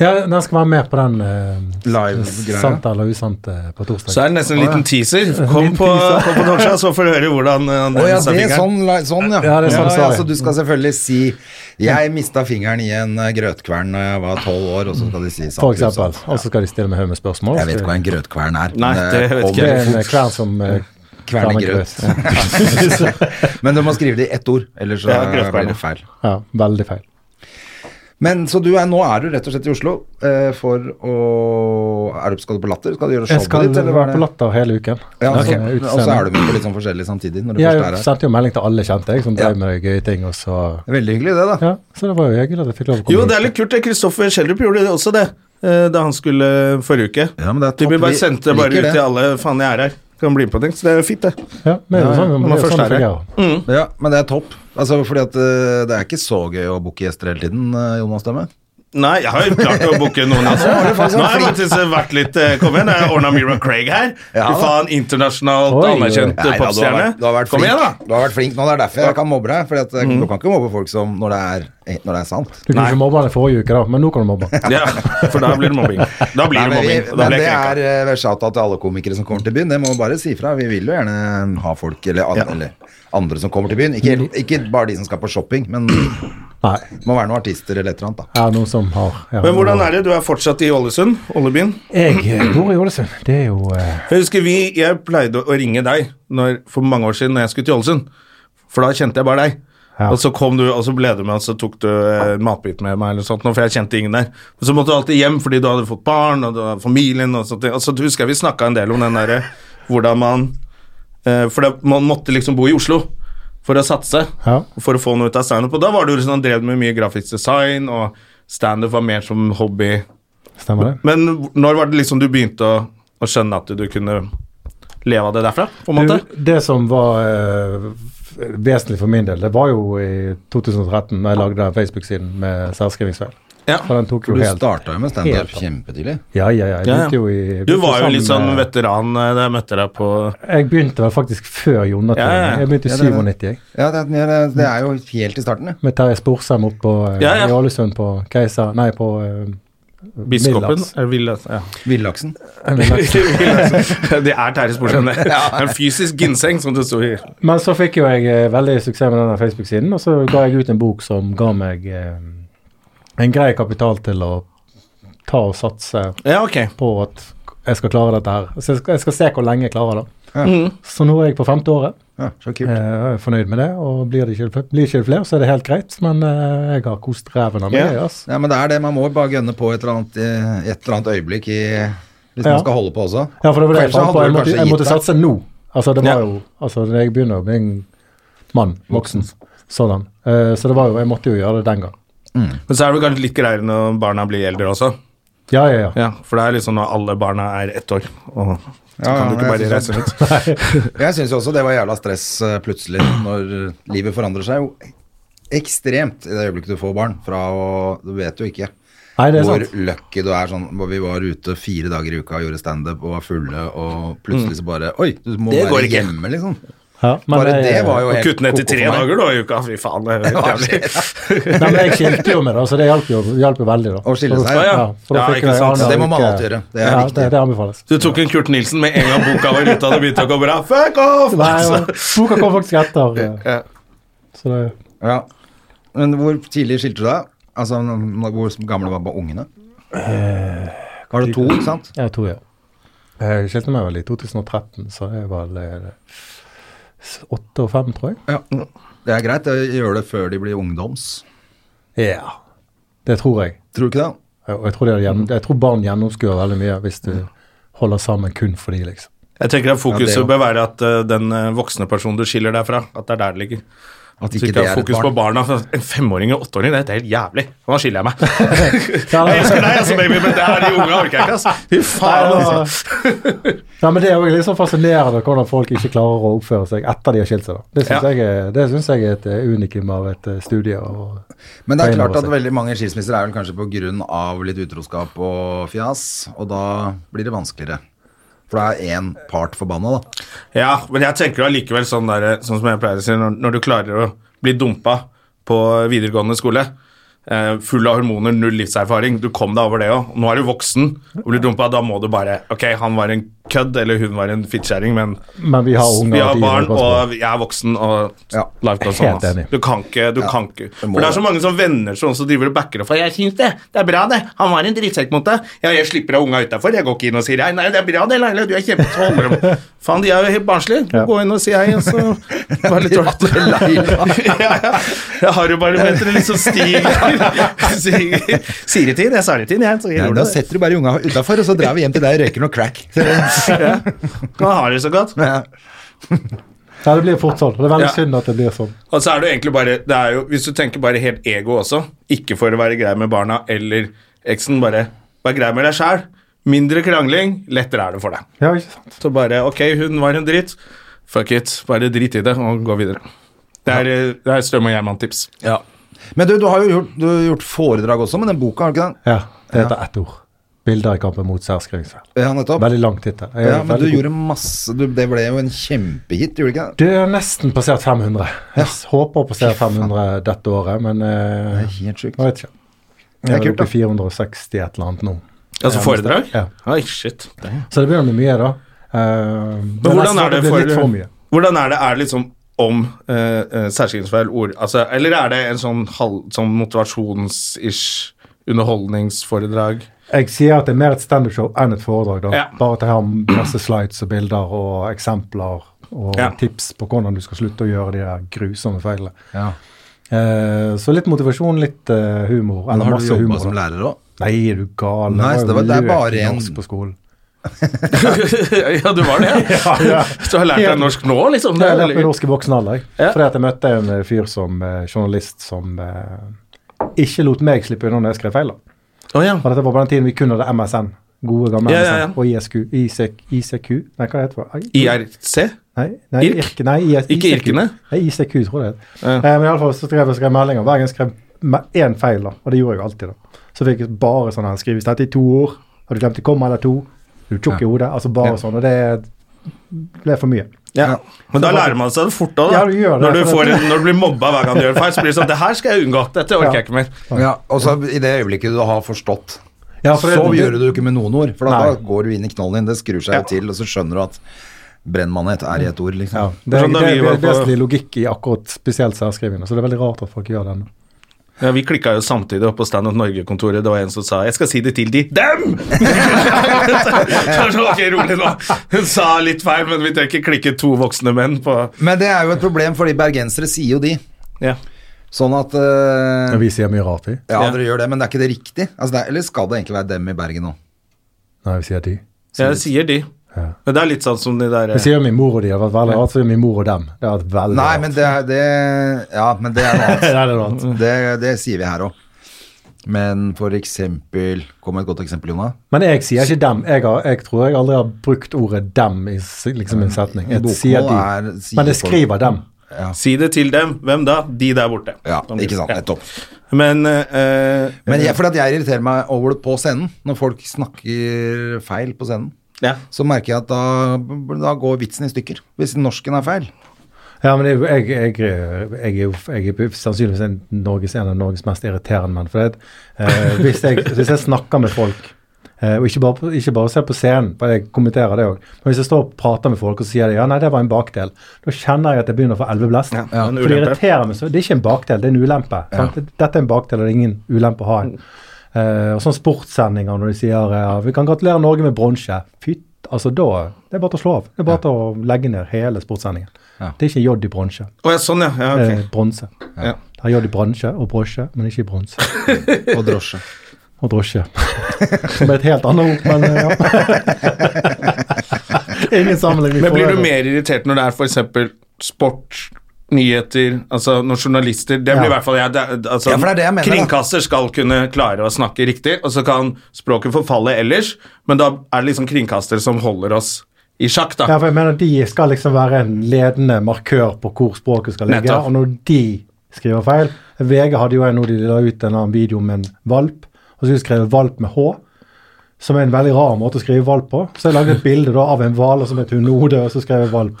Ja, den skal være med på den eh,
Live-greia.
sant eller usant eh, på torsdag.
Så er det nesten en liten teaser. Kom på, kom på torsdag, så får du høre hvordan eh,
Å
han
ja,
mistet
det er
fingeren.
sånn, la- sånn ja.
Ja, det er sånn,
ja,
sorry.
så du skal selvfølgelig si 'Jeg mista fingeren i en eh, grøtkvern da jeg var tolv år', og så skal de si sant.
For
eller
eksempel.
sant.
Og så skal de stille meg haug med spørsmål.
Jeg vet ikke hva en grøtkvern er.
Nei,
men,
det
eh,
vet ikke
om-
Det er en eh, kvern som eh,
Kverner
kverner
grøt.
grøt.
Men du må skrive det i ett ord, ellers så
Ja,
blir
grøtkverner.
det feil.
Ja, veldig feil.
Men så du er, nå er du rett og slett i Oslo eh, for å er du, Skal du på Latter? Skal du gjøre
Jeg
showet
skal
ditt? eller hva er
være
det?
på Latter hele uken.
Ja,
Sånn,
så,
eh,
og så
utseende.
er du med på litt sånn forskjellig samtidig når du først er
Jeg
her.
sendte jo melding til alle kjente jeg, som drev
Ja.
med gøye ting. Og så,
Veldig hyggelig det, da.
ja, så det var jo hyggelig at jeg fikk lov å komme
Jo, det er litt kult. det. Kristoffer Schjelderup gjorde også det eh, da han skulle forrige uke.
Ja, men det er
De
topp.
ble bare
Vi
sendt det bare
liker
ut
det.
til alle. Faen, jeg er her. Kan bli med på ting. Så det er jo fint, det.
Ja, men det er jo
Ja,
sånn,
ja,
det
når man
er jo
først
sånn det
er her.
fungerer.
Ja, men det er topp. Altså, fordi at eh, det er ikke så gøy å booke gjester hele tiden, eh, Jonas Demme.
Nei, jeg har jo klart å booke noen. Altså. Nå har jeg faktisk vært litt eh, Kom igjen, jeg ordna Mira Craig her.
Ja,
Fy
da.
faen, internasjonalt
Oi, oi.
anerkjent eh,
Nei, da, du har vært- du
popstjerne.
har vært
Kom
flink.
igjen, da!
Du har vært flink nå, det er derfor jeg kan mobbe deg. Fordi at eh, du kan ikke mobbe folk som når det er, eh, når det er sant.
Du kunne ikke mobbe han i forrige uke, da, men nå kan du mobbe han.
Ja, for da blir det mobbing. Da blir det
Nei, men vi,
mobbing. og Da
men
blir
det
jeg
er
krenka.
eh, shout-out til alle komikere som kommer til byen. Det må vi bare si fra. Vi vil jo gjerne eh, ha folk, eller, an,
Ja.
eller andre som kommer til byen. Ikke, ikke bare de som skal på shopping, men det
Nei.
må være noen artister eller et eller annet. da.
Jeg er noen som har ja,
Men hvordan er det? Du er fortsatt i Ålesund? Ålebyen?
Jeg eh, bor i Ålesund. Det er jo eh,
Jeg husker vi, jeg pleide å ringe deg når, for mange år siden når jeg skulle til Ålesund, for da kjente jeg bare deg.
Ja.
Og så kom du, og så ble du med, og så tok du eh, en matbit med meg, eller sånt, nå, for jeg kjente ingen der. Og så måtte du alltid hjem fordi du hadde fått barn, og du hadde familien og sånt. Og så husker jeg vi snakka en del om den derre hvordan man eh, For det, man måtte liksom bo i Oslo for å satse,
Ja.
for å få noe ut av standup. Og da var du liksom, drev med mye grafisk design, og standup var mer som hobby.
Stemmer det?
Men når var det liksom du begynte å, å skjønne at du, du kunne leve av det derfra, på en måte?
Du, det som var eh, f- vesentlig for min del, det var jo i 2013 da jeg lagde den Facebook-siden med særskrivingsfeil.
Ja.
For den tok
For
jo
du
helt
starta jo med
Helt
standup
opp.
kjempetidlig.
Ja, ja, ja. Jeg
Ja, ja.
begynte jo i
Du var jo litt sånn
sammen med-
veteran eh, da jeg møtte deg på
Jeg begynte vel faktisk før Jonathan.
Ja, ja, ja.
Jeg begynte i
Ja, det er det.
97, jeg.
Ja, det, er- det er jo helt i starten, det.
Med Terje Sporsem oppe på, eh,
Ja, ja.
i Ålesund på Keiser Nei, på eh,
Biskopen.
Villaks.
Er det Villaks? Ja.
Villaksen.
Villaks. det er Terje Sporsem, det. En fysisk ginseng, som det sto i.
Men så fikk jo jeg eh, veldig suksess med denne Facebook-siden, og så ga jeg ut en bok som ga meg eh, en grei kapital til å ta og satse
Ja, ok.
på at jeg skal klare dette her. Så jeg skal, jeg skal se hvor lenge jeg klarer det. Så nå er jeg på femte året.
Ja, så
Eh,
kult.
Jeg er fornøyd med det, og blir det ikke flere, blir det ikke flere så er det helt greit. Men eh, jeg har kost ræven av meg.
Ja.
ass.
Ja, men det er det. Man må bare gønne på et eller annet, eh, et eller annet øyeblikk i hvis
Ja.
man skal holde på også.
Ja, for det var det jeg
Kanskje
fant på.
hadde
Jeg
du
måtte,
kanskje
jeg måtte
gitt deg.
satse nå. Altså, det var
Ja.
jo Altså, jeg begynner å bli en mann. Voksen. Sådan. Eh, så det var jo Jeg måtte jo gjøre det den gang.
Men så er det vel kanskje litt greiere når barna blir eldre også.
Ja, ja, ja.
Ja, For det er liksom når alle barna er ett år, og så
Ja,
kan du
men
ikke bare
jeg synes
reise
at-
ut.
Jeg syns jo også det var jævla stress eh, plutselig, når livet forandrer seg jo ekstremt i det øyeblikket du får barn. Fra å Du vet jo ikke
Nei, det er
hvor
sant.
lucky du er. Sånn, hvor vi var ute fire dager i uka og gjorde standup og var fulle, og plutselig så bare Oi, du må
Mm. Det går
være
ikke.
hjemme, liksom.
ja men eh,
Bare
jeg,
det var jo
Og
helt
kutte ned til
koko
tre
for meg.
dager da i uka. Fy faen, det er helt jævlig.
Nei, men jeg skilte jo med det, så det hjalp jo, hjalp jo veldig, da.
Å skille seg.
Så da-
Ja, ja.
for da
Ja,
fikk
ikke
jeg
sant.
annen
Det må man
uke.
alltid gjøre. Det er
ja,
viktig.
Det, det anbefales.
Du tok en Kurt Nilsen med en gang boka var ute, og det begynte å gå bra. Fuck off!
Nei, ja,
Altså.
boka kom faktisk etter. eh,
Ja.
Så det
Ja. Men hvor tidlig skilte du deg? Altså, n- hvor gamle var bare ungene?
Eh,
Var det to, ikke sant?
Jeg tror jeg. Jeg skilte meg vel i 2013, så jeg var vel eh, åtte og fem, tror jeg.
Ja. Det er greit å gjøre det før de blir ungdoms.
Ja. Det tror jeg.
Tror du ikke det?
Og jeg tror, det er
Mm.
gjennom, jeg tror barn gjennomskuer veldig mye hvis du holder sammen kun for de, liksom.
Jeg tenker at
Ja, det
fokuset
er jo-
bør være at eh, den eh, voksne personen du skiller deg fra, at det er der det ligger.
At
Så
ikke
ikke
det
ha
er et
fokus på
barn.
barna. for En femåring og åtteåring, det er helt jævlig. Nå skiller jeg meg.
Ja,
Jeg
det-
elsker deg, altså, baby, men det her de unge orker jeg ikke, altså. Fy faen,
Nei,
altså.
Nei, men Det er jo litt sånn fascinerende hvordan folk ikke klarer å oppføre seg etter de har skilt seg. da. Det syns
Ja.
jeg, er- det syns jeg er et eh, unikum av et eh, studie. Og,
Men det er
på en
klart at
måte.
veldig mange skilsmisser er vel kanskje på grunn av litt utroskap og fjas, og da blir det vanskeligere. For da er én part forbanna, da.
Ja, men jeg tenker jo allikevel sånn, der, sånn som jeg pleier å si, når, når du klarer å bli dumpa på videregående skole, eh, full av hormoner, null livserfaring, du kom deg over det òg. Nå er du voksen og blir dumpa, da må du bare Ok, han var en kødd, eller hun var en fittkjerring, men
men vi har unger.
vi
og
har
de
barn,
kost på.
og jeg er voksen, og
Ja,
life goes on.
helt
ass.
enig.
Du kan ikke, du kan ikke.
det må
For det er
det.
så mange som venner som også driver og backer opp. for Jeg syns det, det er bra, det. Han var en drittsekk mot deg. Ja, jeg slipper av unga utafor. Jeg går ikke inn og sier hei. Nei, det er bra det, Laila. Du er kjempetålmodig. Faen, de er jo helt barnslige.
Ja.
Gå inn og si hei, og så Bare litt tråkete. ja, ja. Jeg har jo bare møtt det liksom stiger. stiger. Sier i tid, jeg sa det i tid, jeg. Så jeg
Ja,
gjorde
da
det.
setter du bare unga utafor, og så drar vi hjem til deg og røyker noe crack.
Nå har det så godt.
Ja, det blir fort sånn. og Det er veldig
Ja.
synd at det blir sånn.
Og så er det jo egentlig bare det er jo, Hvis du tenker bare helt ego også, ikke for å være grei med barna eller eksen, bare vær grei med deg sjæl. Mindre krangling, lettere er det for deg.
Ja, ikke sant?
Så bare ok, hun var en dritt, fuck it, bare drit i det og gå videre. Det er, eh, det er Strøm og Gjerman-tips.
Ja. Men du, du har jo gjort, du har gjort foredrag også med den boka, har du ikke det?
Ja, Det heter ett ord. 'Bilder i kampen mot særskrivingsfeil'.
Ja, nettopp.
Veldig lang tittel. Jeg er
Ja, men
veldig
du
god.
gjorde masse du, Det ble jo en kjempehit, gjorde det ikke det?
Det er nesten passert 500. Jeg håper å passere 500 dette året, men eh,
Det er helt sjukt.
jeg vet ikke.
Det er
Jeg er
kult,
oppe
da.
i 460 et eller annet nå.
Altså foredrag?
Ja.
Oi, shit. Men
Så det begynner å bli mye, da. Eh, men
hvordan
neste år
er det
blir litt for
for,
mye.
hvordan er det, er det liksom om eh, eh, særskilsfeil ord altså, Eller er det en sånn, halv- sånn motivasjons-ish underholdningsforedrag?
Jeg sier at det er mer et standup-show enn et foredrag. da.
Ja.
Bare at jeg har masse slides og bilder og eksempler og
Ja.
tips på hvordan du skal slutte å gjøre de der grusomme feilene.
Ja.
Eh, så litt motivasjon, litt eh, humor.
Men
Eller
har du
masse
jobba
humor.
som
da.
lærer òg?
Nei, er du gal.
Nei, så
jo
det var- det er
løk i
bare en-
norsk på skolen.
ja, du var det, ja. Så du har lært deg norsk nå, liksom?
Det
Det
har jeg
er
lært meg
veldig-
norsk i voksen alder. jeg.
Ja.
Fordi at jeg møtte en eh, fyr som eh, journalist som eh, ikke lot meg slippe unna når jeg skrev feil. da.
Å, ja.
Og dette var på den tiden vi kun hadde MSN. Gode gamle
Ja, ja, ja.
MSN. Og ISQ. ISQ, ICQ E Nei, hva heter det? I-
IRC?
Nei, nei,
Irk?
Irke, nei IS,
Ikke
ICQ.
Irkene?
Nei, ICQ, tror jeg det het.
Ja.
Eh, Men iallfall så skrev jeg skrev meldinger. Hver gang jeg skrev me- én feil, da. Og det gjorde jeg jo alltid, da. Så fikk jeg bare sånn her Skrives dette i to ord? Har du glemt et komma eller to? Er du tjukk i hodet? Altså bare sånn. Og det ble for mye.
Ja. Men da lærer man seg det fort òg, da.
Ja, du gjør det,
når, du
for
får
det-
en, når du blir mobba hver gang du gjør feil, så blir det sånn Det her skal jeg unngå. Dette orker jeg ikke mer.
Ja, og så i det øyeblikket du har forstått,
Ja, for det-
så gjør du det ikke med noen ord. For da,
Nei.
da går du inn i knollen din, det skrur seg
Ja.
jo til, og så skjønner du at brennmanet er i et ord,
Ja,
liksom.
det, er-
Sånn da
det,
vi
det
var
er
på-
vesentlig logikk i akkurat spesielt særskrivende, så det er veldig rart at folk gjør den.
Ja, Vi klikka jo samtidig opp på Stand Up Norge-kontoret. Det var en som sa 'Jeg skal si det til de dem!' så, så, ok, rolig nå. Hun sa litt feil, men vi trenger ikke klikke to voksne menn på
Men det er jo et problem, fordi bergensere sier jo de.
Ja.
Sånn at eh,
Men vi sier mye rart, vi.
Ja,
Ja.
dere gjør det, men det er ikke det riktig. Altså, det er, eller skal det egentlig være dem i Bergen nå?
Nei, vi sier de.
Jeg sier de. Men det er litt sånn som de der
Vi sier min mor og de, det har vært veldig rart, så sier min mor og dem. Det har vært veldig
Nei,
rart.
men det, er- det Ja, men det er noe
Nei,
annet.
det er noe annet.
Det, det sier vi her òg. Men for eksempel Kom med et godt eksempel, Jonna.
Men jeg sier ikke dem. Jeg, har, jeg tror jeg aldri har brukt ordet dem i s- liksom en setning. Jeg
Bokmål
sier de.
er- sier
Men jeg
folk-
skriver dem.
Si det til dem. Hvem da? De der borte.
Ja,
Sånn.
ikke sant.
Ja.
Nettopp.
Men eh,
Men jeg, fordi at jeg irriterer meg over det på scenen, når folk snakker feil på scenen,
ja.
så merker jeg at da, da går vitsen i stykker. Hvis norsken er feil.
Ja, men det er jo- jeg, jeg, jeg, er jo jeg er sannsynligvis en, Norges, en av Norges mest irriterende menn. For det, at, eh, hvis, jeg, hvis jeg snakker med folk, eh, og ikke bare, på- ikke bare ser på scenen, for jeg kommenterer det òg Men hvis jeg står og prater med folk og så sier de, ja, nei, det var en bakdel, da kjenner jeg at jeg begynner å få elveblest.
ja, en
For det
ulempe.
irriterer meg så. Det er ikke en bakdel, det er en ulempe. sant? Dette er en bakdel, og det er ingen ulempe å ha
Mm.
en. Eh, og sånn sportssendinger når de sier eh, vi kan gratulere Norge med bronse. Fytt, altså da Det er bare til å slå av. Det er bare til å legge ned hele sportssendingen. Det er ikke jod i bronse.
Å, ja, sånn, ja. ja ok.
Eh, bronse.
Ja.
Det er jod i bransje og brosje, men ikke i bronse.
Og drosje.
Og drosje. Som er et helt annet ord, men eh, ja. Ingen sammenligning.
Men
for
blir du
øvrig.
mer irritert når det er for eksempel sport, nyheter, altså når journalister Det blir i
Ja.
hvert fall jeg det, er- altså,
Ja, for det er det jeg mener, da.
Kringkaster skal kunne klare å snakke riktig, og så kan språket forfalle ellers, men da er det liksom kringkaster som holder oss i sjakk, da.
Ja, for jeg mener De skal liksom være en ledende markør på hvor språket skal ligge.
Nettopp.
Og når de skriver feil VG hadde jo en nå de la ut en annen video med en valp, og så skulle de skrevet 'valp' med H. Som er en veldig rar måte å skrive valp på. Så jeg lagde et bilde da av en hval og som et hunode, og så skrev jeg 'valp'.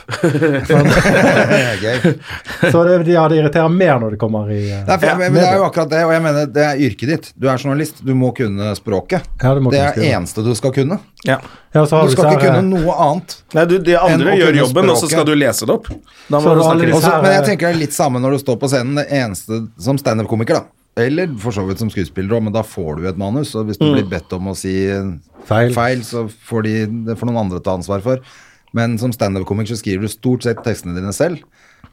Det er gøy.
Så det, ja, det irriterer mer når det kommer i eh,
Nei, for jeg, men det er jo akkurat det, og jeg mener det er yrket ditt. Du er journalist, du må kunne språket.
Ja, du må
det
kunne
er det
skrive.
eneste du skal kunne.
Ja.
ja, så har
Du skal
disse
ikke
her, eh,
kunne noe annet.
Nei, du, de
Enn
andre
å
gjør
kunne
jobben, og så
språket.
skal du lese det opp. Da
Så
må du
har
snakke
alle
riktig.
disse
Også,
her,
men jeg
eh,
tenker det er litt samme når du står på scenen. Det eneste som standup-komiker, da. Eller for så vidt som skuespiller òg, men da får du et manus. Og hvis du blir bedt om å si eh,
Feil.
så får de, det får noen andre ta ansvar for. Men som standup-komiker så skriver du stort sett tekstene dine selv.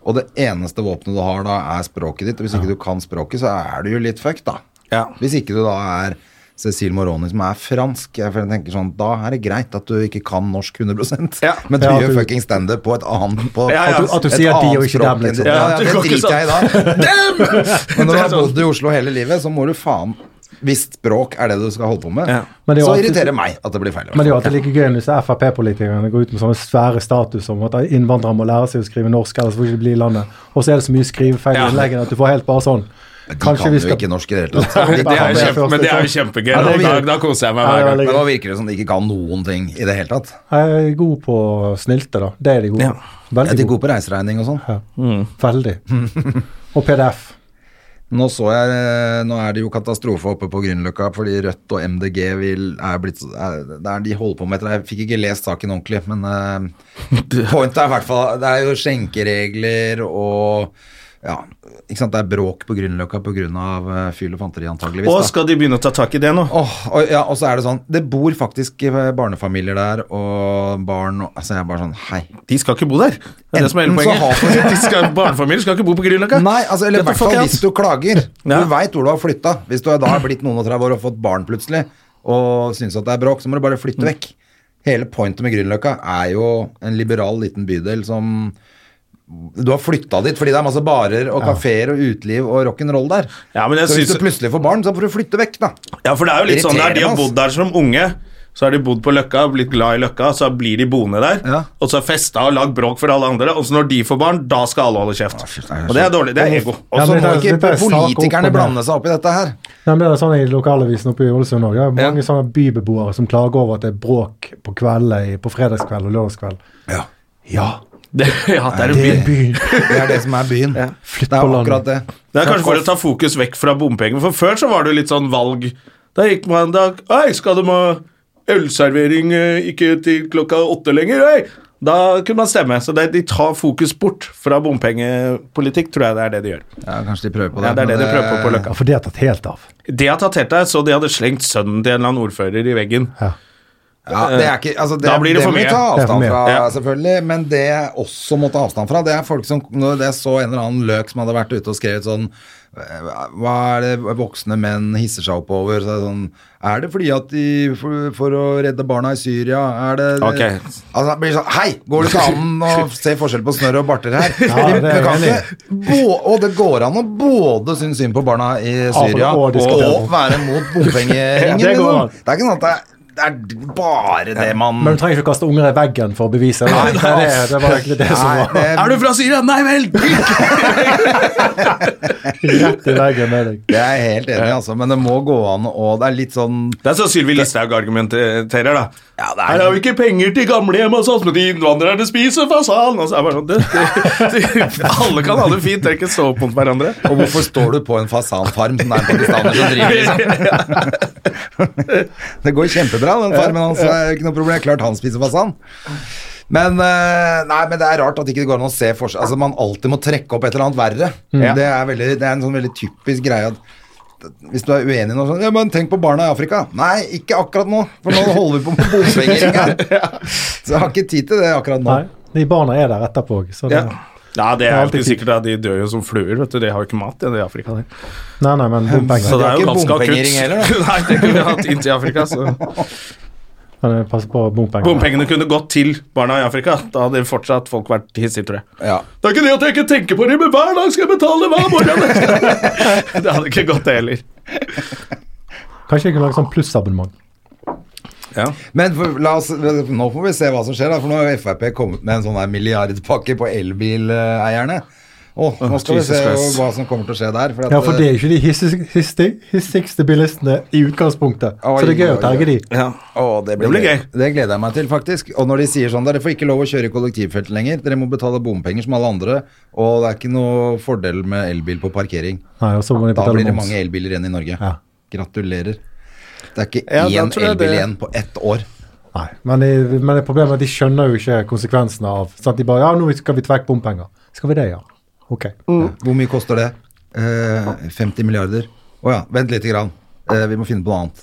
Og det eneste våpenet du har da, er språket ditt. Og hvis ikke du kan språket, så er du jo litt fucked, da.
Ja.
Hvis ikke du da er Cecil Moroni, som er fransk, jeg tenker sånn, da er det greit at du ikke kan norsk 100
Ja.
Men du
Ja, at
gjør
du-
fucking standup på et annet på,
Ja, ja.
på et-
At
du
et
sier de
annet
og ikke
språk
dem,
enn ditt.
liksom.
Ja,
Ja,
ja,
du
det sånn.
går ikke
driter jeg i da. Men når du
Det er
har
sånn.
bodd i Oslo hele livet, så må du faen Hvis språk er det du skal holde på med,
Ja.
Men det er
så
jo alltid-
irriterer meg at det blir feil. i hvert
Men det er jo
fall.
alltid like gøy når disse Frp-politikerne går ut med sånne svære status om at innvandrere må lære seg å skrive norsk, ellers får de ikke bli i landet. Og så er det så mye skrivefeil i
Ja.
innleggene at du får helt bare sånn.
De kan jo ikke norsk i det hele tatt.
Det er jo
Ja, det er
kjempe,
første
men det er jo
gang.
kjempegøy.
Ja, det er
Da,
gøy.
da koser jeg meg
Ja, det
hver
er
gang.
veldig
Men nå virker det som de ikke kan noen ting i det hele tatt.
Jeg er god på snylte, da. Det er de gode
Ja.
på.
Er de
Veldig
gode på reiseregning og sånn?
Veldig. Og PDF.
Nå så jeg, eh, nå er det jo katastrofe oppe på Grünerløkka fordi Rødt og MDG vil, er blitt, så- er, det er de holder på med etter Jeg fikk ikke lest saken ordentlig, men eh, pointet er i hvert fall Det er jo skjenkeregler og ja, ikke sant, det er bråk på Grünerløkka pga. fyll og fanteri, antageligvis.
Og
da.
skal de begynne å ta tak i det nå?
Åh, og, ja, og så er det sånn Det bor faktisk eh, barnefamilier der og barn og Altså, jeg er bare sånn Hei.
De skal ikke bo der. Det er det som er hele
Enten så
poenget. De skal, barnefamilier skal ikke bo på Grünerløkka.
Nei, altså, eller i
Get the
hvert fall
fuck out.
hvis du klager.
Ja.
Du veit hvor du har flytta. Hvis du da har blitt noen og 30 år og fått barn plutselig, og syns at det er bråk, så må du bare
Mm.
flytte vekk. Hele pointet med Grünerløkka er jo en liberal liten bydel som du har flytta dit fordi det er masse barer og kafeer og uteliv og rock'n'roll der.
Ja, men jeg
så hvis
synes-
du plutselig får barn, så får du flytte vekk, da.
Ja, for det er jo litt sånn der, De har
Irriterende,
bodd der som unge. Så har de bodd på Løkka, blitt glad i Løkka, så blir de boende der.
Ja.
Og så har festa og lagd bråk for alle andre, og så når de får barn, da skal alle holde kjeft.
fy, det er
og det er dårlig. Det er ego.
Og
Ja,
så må
men det er-
ikke
dette er sak opp og
politikerne
ned.
blande seg opp i dette her.
Nei, men det er sånn i lokalavisen oppe i Ålesund òg. Det er mange sånne bybeboere som klager over at det er bråk på kveldene, på fredagskveld og lørdagskveld.
Ja.
Ja,
Det, ja, det, er
det
det,
er byen.
Det er det som er byen. Det
Flytt på
er
landet.
akkurat det.
det er kanskje for å ta fokus vekk fra bompenger. For før så var det jo litt sånn valg. Da gikk man da Ei, skal de ha ølservering eh, ikke til klokka åtte lenger? Ei! Da kunne man stemme. Så det, de tar fokus bort fra bompengepolitikk, tror jeg det er det de gjør.
Ja, kanskje de prøver på det.
Ja, det er det
men
de prøver på på Løkka.
Ja, for det har tatt helt av.
Det har tatt helt av, så de hadde slengt sønnen til en eller annen ordfører i veggen.
Ja.
Mm. Ja, det er ikke, altså det,
Eh, Da blir det for
må vi
mye.
ta
Det er for
avstand
mye.
fra,
Ja.
selvfølgelig. Men det jeg også må ta avstand fra, det er folk som når Jeg så en eller annen løk som hadde vært ute og skrevet sånn eh, Hva er det voksne menn hisser seg opp over? Så er, det sånn, er det fordi at de for, for å redde barna i Syria Er det
Ok.
Altså, det blir sånn Hei! Går det ikke an å se forskjell på snørr og barter her?
Ja, det er
Vi kan
jeg
ikke bo, og det går an å både synes synd på barna i Syria
og
og,
diskutere det.
være mot bompengeringen.
Det går
liksom.
an.
Det er ikke sånn at det er, det er bare det man
Men du trenger ikke å kaste unger i veggen for å bevise det.
Nei,
det, er det, det var egentlig det som
Nei,
var
det,
Er du fra Syria? Nei vel!
rett i veggen med deg.
det er jeg helt enig i, altså. Men det må gå an å Det er litt sånn
Det er sånn Sylvi Listhaug argumenterer, da.
Ja, det er-
Her har vi ikke penger til gamlehjem og sånt, men de innvandrerne spiser fasan! Og så er det bare sånn, det, det, det, alle kan ha det fint, dere kan ikke stå opp mot hverandre.
Og hvorfor står du på en fasanfarm som det er en pakistaner som driver? Liksom? Det går kjempebra, den farmen hans. Det er jo ikke noe problem. Klart han spiser fasan. Men, eh, nei, men det er rart at ikke det går an å se forskjell. Altså, man alltid må trekke opp et eller annet verre.
Mm.
Det, er veldig, det er en sånn veldig typisk greie at hvis du er uenig i noe sånt, ja, men tenk på barna i Afrika. Nei, ikke akkurat nå, for nå holder vi på med bompenger. ikke? Så jeg har ikke tid til det akkurat nå.
Nei, de barna er der etterpå. Så det,
Ja. ja, det er jo
alltid
ikke sikkert, da. De dør jo som fluer, vet du. De har jo ikke mat i Afrika, der.
Nei, nei, men
Så
bompenger.
det er
har
jo
ikke
ganske akutt.
bompengering heller,
Nei, det kunne vi hatt inn til Afrika, så
Men eh, pass på bompengene.
Bompengene kunne gått til barna i Afrika. Da hadde fortsatt folk vært hissige, tror jeg.
Ja.
Det er ikke det at jeg ikke tenker på det, men hver dag skal jeg betale hver morgen! det hadde ikke gått, det heller.
Kanskje jeg kunne lage sånn plussabonnement.
Ja.
Men for, la oss, nå får vi se hva som skjer, da, for nå har Frp kommet med en sånn her milliardpakke på elbileierne. Åh, nå skal vi
Jesus
se
Christ.
hva som kommer til å skje der. at,
Ja, for det er jo ikke de hissi- hissi- hissigste bilistene i utgangspunktet.
Oi,
Så det er gøy å terge de.
Ja.
Å, det, blir
Det blir
gøy.
gøy.
Eh, Det gleder jeg meg til, faktisk. Og når de sier sånn, dere får ikke lov å kjøre i kollektivfeltet lenger, dere må betale bompenger som alle andre, og det er ikke noe fordel med elbil på parkering.
Nei, og så må de
Da
betale
blir det
moms.
mange elbiler igjen i Norge.
Ja.
Gratulerer. Det er ikke
Ja, da
én
tror jeg
elbil
det-
igjen på ett år.
Nei, men, de, men det problemet er at de skjønner jo ikke konsekvensene av sant? De bare Ja, nå skal vi trekke bompenger. Skal vi det, ja? Ok.
Hvor mye koster det? Eh, 50 milliarder. Å ja, vent lite grann. Eh, vi må finne på noe annet.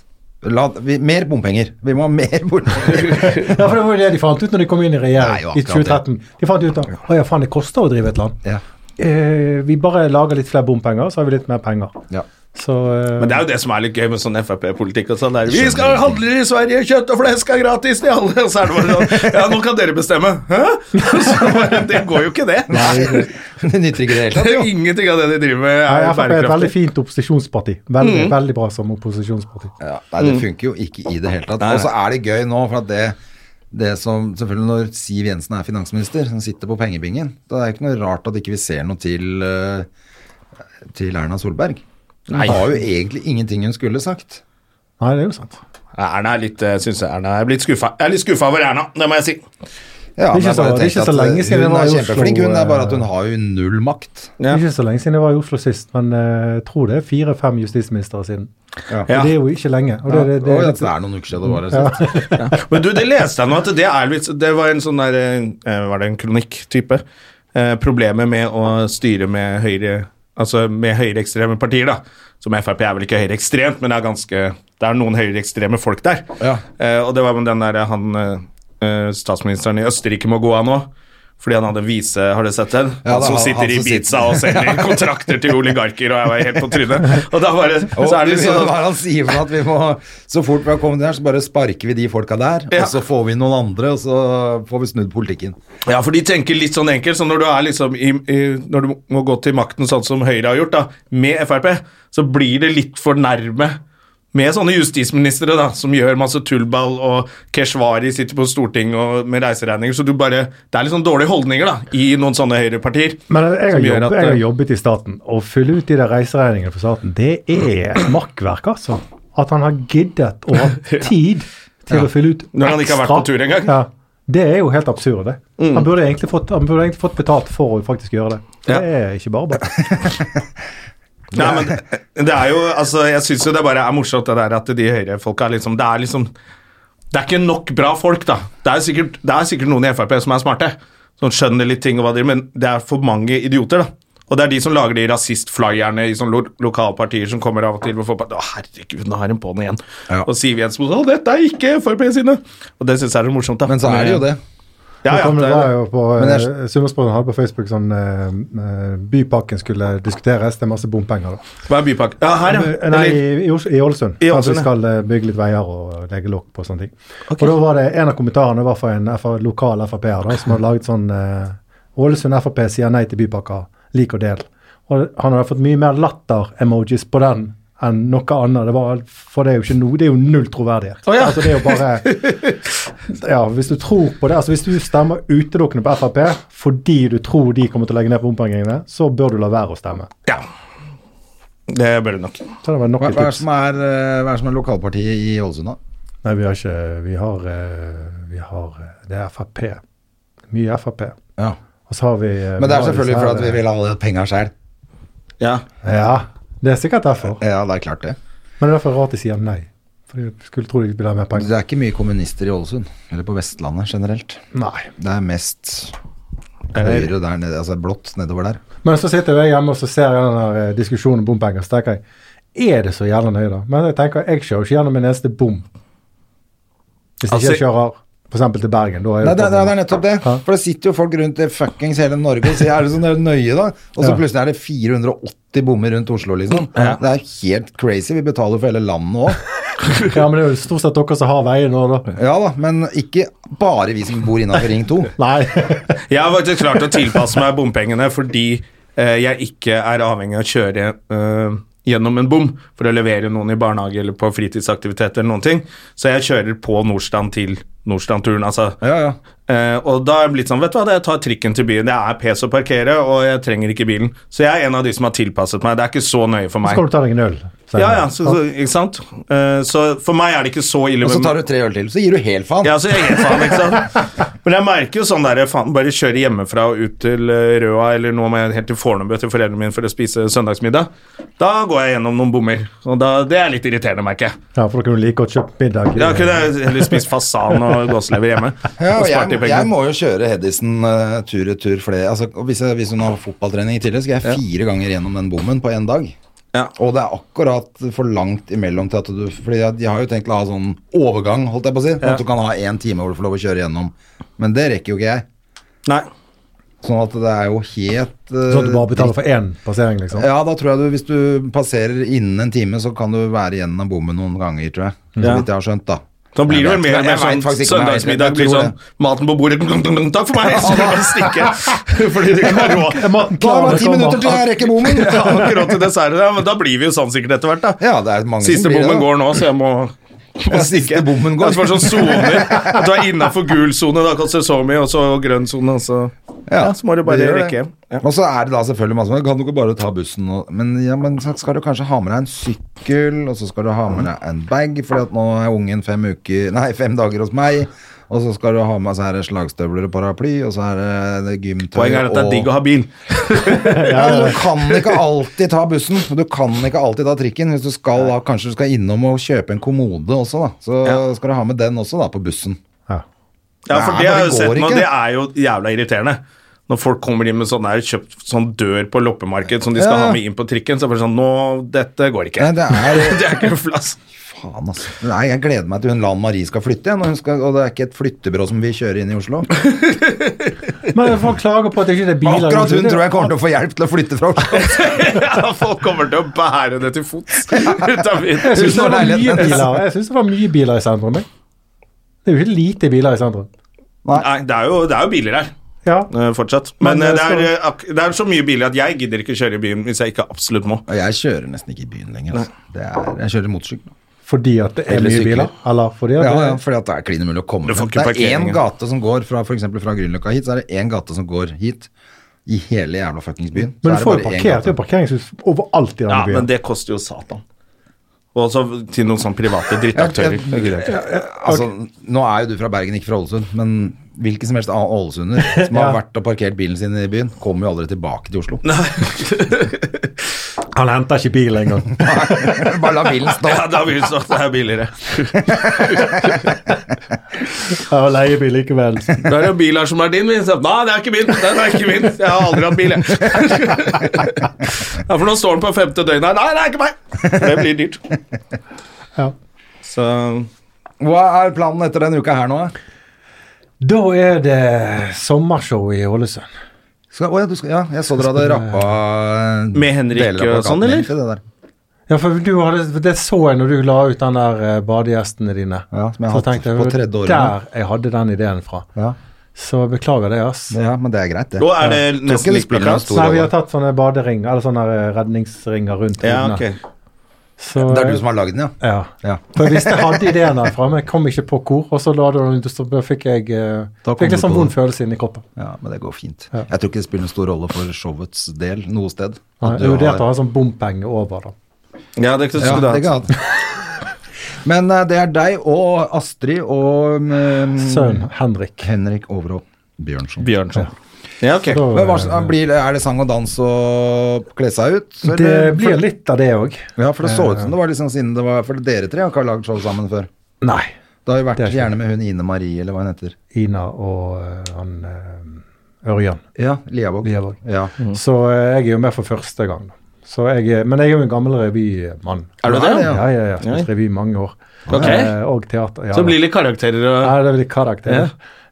La, vi, mer bompenger. Vi må ha mer bompenger.
Ja, for Det var jo det de fant ut når de kom inn i
Nei, jo,
regjering i
akkurat
2013. De fant ut at å ja, faen, det koster å drive et land.
ja.
Eh, vi bare lager litt flere bompenger, så har vi litt mer penger.
Ja.
Så eh,
Men det er jo det som er litt gøy med sånn Frp-politikk og sånn. der, Vi skal handle i Sverige, kjøtt og flesk er gratis til alle! Og så er det bare sånn Ja, nå kan dere bestemme! Hæ? Så bare, det går jo ikke, det.
Nei, det nytter ikke i det hele
Det
tatt,
er
jo.
jo Ingenting av det de driver med,
Nei,
er
Frp er et veldig
bærekraftig. Mhm.
fint opposisjonsparti. Veldig, veldig bra som opposisjonsparti.
Ja, nei,
Mm.
det funker jo ikke i det hele tatt. Og så er det gøy nå, for at det, det som Selvfølgelig når Siv Jensen er finansminister, som sitter på pengebingen, da er det ikke noe rart at ikke vi ser noe til, eh, til Erna Solberg. Hun har jo egentlig ingenting hun skulle sagt.
Nei, det er jo sant.
Erna er litt, eh, synes jeg Erna er blitt skuffa. Jeg er litt skuffa over Erna, det må jeg si.
Ja,
Det er ikke
men jeg bare
så- det er
tenkte
ikke så
at, eh,
lenge siden hun
Hun
var
er
i Oslo,
kjempeflink, hun. Det er bare at hun
eh,
har jo null makt.
Ja.
Ikke så lenge siden jeg var i Oslo sist, men eh, jeg tror det er fire-fem justisministre siden.
Ja.
Og det er jo ikke lenge. Og det, det, det,
Oi, at
er
det
litt-
er noen uker siden det var altså. det sist.
Men du, det leste jeg nå at det er litt Det var en sånn der eh, Var det en kronikk-type? Eh, problemet med å styre med høyre Altså med høyreekstreme partier, da. Som Frp er vel ikke høyreekstremt, men det er ganske Det er noen høyreekstreme folk der.
Ja.
Eh, og det var med den derre han eh, eh, Statsministeren i Østerrike må gå av nå. Fordi han hadde vise, har du sett den?
Ja,
han
det
som
var
sitter
han
i
som
Ibiza
sitter-
og selger kontrakter til oligarker, og jeg var helt på trynet. Og da bare,
Og
så er det litt
liksom-
sånn
hva er det han sier for noe? at vi må, så fort vi har kommet her, så bare sparker vi de folka der,
Ja.
og så får vi noen andre, og så får vi snudd politikken.
Ja, for de tenker litt sånn enkelt, så når du, er liksom i, i, når du må gå til makten sånn som Høyre har gjort, da, med Frp, så blir det litt for nærme med sånne justisministre da, som gjør masse tullball, og Keshvari sitter på Stortinget og med reiseregninger, så du bare, det er litt sånn dårlige holdninger da, i noen sånne høyrepartier.
Men jeg har,
Som gjør
jobbet,
at- eh,
jeg har jobbet i staten. Å fylle ut de der reiseregningene for staten, det er makkverk, altså. At han har giddet og hatt tid til å fylle ut ekstra.
Når han ikke har vært på tur engang. Mm.
Ja, det er jo helt absurd, det. Han, burde egentlig fått, han burde egentlig fått betalt for å faktisk gjøre det. Det
Ja.
er ikke bare bare.
Nei, men det, det er jo, altså, jeg synes jo det bare er morsomt det der at de høyrefolka er liksom, det er liksom, det er ikke nok bra folk da. Det er sikkert, det er sikkert noen i FRP som er smarte, som skjønner litt ting og hva de gjør, men det er for mange idioter da. Og det er de som lager de rasistflyerne i sånne lo lokalpartier som kommer av og til og får bare, å herregud, nå har hun på den igjen.
Ja.
Og Siv Jensen, å dette er ikke FRP sine. Og det synes jeg er morsomt da.
Men så er det jo det.
Ja,
Nå
ja,
kom det
det
var
er det.
jo på
Men jeg-
eh, Sunnmørsbroen hadde på Facebook sånn eh, eh, Bypakken skulle diskuteres, det er masse bompenger, da.
Hva er bypakke? Ja, her ja.
Eh, Nei,
Eller-
i, i, Os- i Ålesund.
I
At vi
Ålesund, ja.
skal eh, bygge litt veier og legge lokk på sånne ting. Og da var det en av kommentarene var fra en FR, lokal Frp-er da, som hadde laget sånn eh, Ålesund Frp sier nei til bypakker. Lik og del. Og han hadde fått mye mer latter-emojis på den enn noe annet. Det var, for det er jo ikke noe, det er jo null troverdighet.
Å, ja.
Altså det er jo bare Ja, hvis du tror på det, altså hvis du stemmer utelukkende på Frp fordi du tror de kommer til å legge ned på bompengene, så bør du la være å stemme.
Ja. Det bør det nok.
Så det var nok
Hva,
et
hva, er det
tips.
som er, eh, hva er det som er lokalpartiet i Ålesund, da?
Nei, vi har ikke Vi har, eh, vi har eh, Det er Frp. Mye Frp.
Ja.
Og så har vi eh,
Men det
vi
er
har
selvfølgelig
disse
for
her,
at vi vil ha alle penga sjøl.
Ja.
eh, Ja, det er sikkert derfor.
Ja, det er klart det.
Men det er derfor rart de sier nei. For de skulle tro de ville ha mer
Det
penger.
er ikke mye kommunister i Ålesund, eller på Vestlandet generelt.
Nei.
Det er mest høyre der nede, altså blått nedover der.
Men så sitter jo jeg hjemme og så ser jeg den der eh, diskusjonen om bompenger, så tenker jeg er det så jævla nøye, da? Men jeg tenker, jeg kjører ikke gjennom en eneste bom. Hvis ikke
Altså-
jeg kjører f.eks. til Bergen, da
Nei,
er det,
det, det, det er nettopp det.
Ja.
For det sitter jo folk rundt i fuckings hele Norge og sier er det sånn nøye, da? Og så
Ja.
plutselig er det 480 bommer rundt Oslo, liksom. Det er helt crazy. Vi betaler for hele landet òg.
Ja, men det er jo stort sett dere som har veien nå, da.
Ja da, men ikke bare vi som bor innafor Ring 2.
Nei.
Jeg har faktisk klart å tilpasse meg bompengene fordi eh, jeg ikke er avhengig av å kjøre eh, gjennom en bom for å levere noen i barnehage eller på fritidsaktivitet eller noen ting. Så jeg kjører på Nordstrand til Nordstrandturen, altså.
Ja, ja.
Eh, og da er det blitt sånn, vet du hva, jeg tar trikken til byen. Det er pes å parkere, og jeg trenger ikke bilen. Så jeg er en av de som har tilpasset meg. Det er ikke så nøye for meg.
Skal du ta deg en øl? senere?
Ja, ja, så, så, ikke sant? Eh, så for meg er det ikke så ille.
Og så
med-
tar du tre øl til, så gir du helt faen.
ja, så jeg gir faen, ikke sant? Men jeg merker jo sånn der, faen, bare kjøre hjemmefra og ut til eh, Røa, eller nå må jeg helt til Fornebu til foreldrene mine for å spise søndagsmiddag. Da går jeg gjennom noen bommer, og da, det er litt irriterende, merker jeg.
Ja, for da kunne du like godt kjøpt middag. i-
Da kunne jeg heller spist fasan og gåselever hjemme.
Ja,
og
og
spart de
jeg, jeg
pengene.
må jo kjøre Hedison eh, tur-retur flere altså, og hvis, jeg, hvis hun har fotballtrening i tillegg, skal jeg fire ganger gjennom den bommen på én dag.
Ja.
Og det er akkurat for langt imellom til at du Fordi jeg, jeg har jo tenkt å ha sånn overgang, holdt jeg på å si. sånn At du kan ha én time hvor du får lov å kjøre gjennom. Men det rekker jo ikke jeg.
Nei.
Sånn at det er jo helt eh,
Sånn at du bare betaler for én passering, liksom?
Ja, da tror jeg du, hvis du passerer innen en time, så kan du være gjennom bommen noen ganger, tror jeg. Så
Ja.
vidt jeg har skjønt, da.
Da blir det vel mer
Jeg
og
vet
mer sånn
faktisk ikke om jeg vet det,
søndagsmiddag
men jeg
blir
tror
sånn Maten på bordet Takk for meg! Så bare stikke. Fordi du ikke har råd.
Er maten
Da
klar
er det
når du
ti
kommer?
minutter til jeg rekker bommen!
Jeg har ikke råd til desserten, ja, men da blir vi jo sånn sikkert etter hvert, da.
Ja, det er mange
Siste
som blir det,
bommen
da.
går nå, så jeg må, må
Ja, siste
stikke.
bommen går.
Ja, Det var sånn soner. At du er innafor gul sone, da koster det så mye, og så grønn sone, og så ja, Så må du bare
det gjør det.
rekke hjem. Ja.
Og så er det da selvfølgelig masse men Kan du ikke bare ta bussen og Men, ja, men så skal du kanskje ha med deg en sykkel, og så skal du ha med deg en bag, Fordi at nå er ungen fem uker Nei, fem dager hos meg. Og så skal du ha med så er det slagstøvler og paraply, og så er det det gymtøy
Poenget er at det er digg å ha bil.
ja, Du kan ikke alltid ta bussen. Du kan ikke alltid ta trikken. Hvis du skal da, Kanskje du skal innom og kjøpe en kommode også, da. Så
Ja.
skal du ha med den også, da, på bussen.
Ja.
Ja, for det, har
Nei, men
jeg
det
jo sett
går
nå,
ikke.
det er jo jævla irriterende. Når folk kommer inn med sånn der, kjøpt sånn dør på loppemarked som de skal
Ja.
ha med inn på trikken, så er det bare sånn Nå, dette går ikke.
Nei, det er-
det er ikke en plass.
Faen, altså. Nei, jeg gleder meg til hun Lan Marie skal flytte igjen. Og, hun skal, og det er ikke et flyttebyrå som vil kjøre inn i Oslo.
Men folk klager på at det ikke er biler.
Akkurat hun tror jeg kommer til å få hjelp til å flytte fra Oslo.
Ja, folk kommer til å bære det til fots ut av
Jeg
byen.
syns det,
Tusen
var mye
leilighet, men-
biler. Jeg synes det var mye biler i sentrum. jeg. Det er jo ikke lite biler i sentrum.
Nei, det er jo, det er jo biler her.
Ja.
Eh, fortsatt.
Men,
Men, eh,
eh,
det, er,
skal-
eh, ak det er så mye biler at jeg gidder ikke kjøre i byen hvis jeg ikke absolutt må.
Og jeg kjører nesten ikke i byen lenger. Altså. Det er, jeg kjører motorsykkel.
Fordi at det er
Eller
mye
sykler.
biler? Eller fordi at
Ja,
det
ja, fordi at det er klin umulig å komme
Du får
frem.
ikke
Det er
parkering,
én
ja.
gate som går fra for eksempel fra Grünerløkka hit, så er det én gate som går hit. I hele jævla fuckings byen. Så er
Men du
det
får jo
bare én
parkert det er
gate.
jo parkeringshus overalt i denne
Ja,
byen.
Men det koster jo satan. Og så til noen sånne private drittaktører.
Ja, Altså, nå er jo du fra Bergen, ikke fra Ålesund, men hvilken som helst annen ålesunder som har vært og parkert bilen sin i byen, kommer jo aldri tilbake til Oslo.
Han henter ikke bilen engang.
Bare la bilen stå.
Ja, da vil det stå at det er billigere.
Ja, og leiebil likevel.
Da er det jo biler som er din, min. Så, Nei, det er ikke min! Den er ikke min! Jeg har aldri hatt bil, jeg. Ja, for nå står den på femte døgnet her. Nei, det er ikke meg! Det blir dyrt.
Ja.
Så
Hva er planen etter denne uka her nå? da?
Da er det sommershow i Ålesund.
Skal, å ja, du skal, ja, jeg så dere hadde rappa eh,
Med Henrik
deler av
og sånn,
plakaten
eller?
din til Det, der.
Ja, for du hadde, for det så jeg når du la ut den der eh, badegjestene dine.
Ja, som jeg har
Så tenkte
hatt på tredje året
Der jeg hadde den ideen fra.
Ja.
Så beklager det, ass.
ja, men det er greit, det.
Nå er det
Tror ikke
nesten
det
likt
spiller noen
plakat.
stor
Nei, vi
rolle.
har tatt sånne baderinger, eller sånne eh, redningsringer rundt
Ja,
hodene.
ok.
Så, eh,
Det er du som har lagd den, ja?
Ja.
Ja.
For jeg visste jeg hadde ideen herfra, men jeg kom ikke på hvor. Og så la du den ut, og så fikk jeg eh,
Da kom
fikk
du
litt sånn
på
vond
det.
følelse inni kroppen.
ja, men det går fint.
Ja.
Jeg tror ikke det spiller noen stor rolle for showets del noe sted.
Nei,
At
det er
du
jo det at
har-
å ha sånn bompenge over, da.
Ja, det skulle
Ja,
du
det
hatt.
kan jeg ha. Men eh, det er deg og Astrid og mm,
Sønn Henrik.
Henrik Overå Bjørnson.
Bjørnson. Ja, ok.
Da,
Men hva, slags- blir, det- er det sang og dans og kle seg ut?
det
eller?
blir
for,
litt av det òg.
Ja, for det så ut som det var liksom siden det var For dere tre har ikke lagd show sammen før.
Nei.
Det har jo vært
Det er ikke
gjerne med hun Ine Marie, eller hva hun heter.
Ina og eh, han eh, Ørjan.
Ja, Liavåg.
Liavåg.
Ja.
Så eh, jeg er jo med for første gang. da. Så jeg, er- men jeg er jo en gammel revymann.
Er du det?
Ja, ja, ja. Jeg har spilt
Ja.
revy i mange år.
Ok.
Eh, og teater. Ja,
Så blir det litt karakterer og
ja, det blir karakter.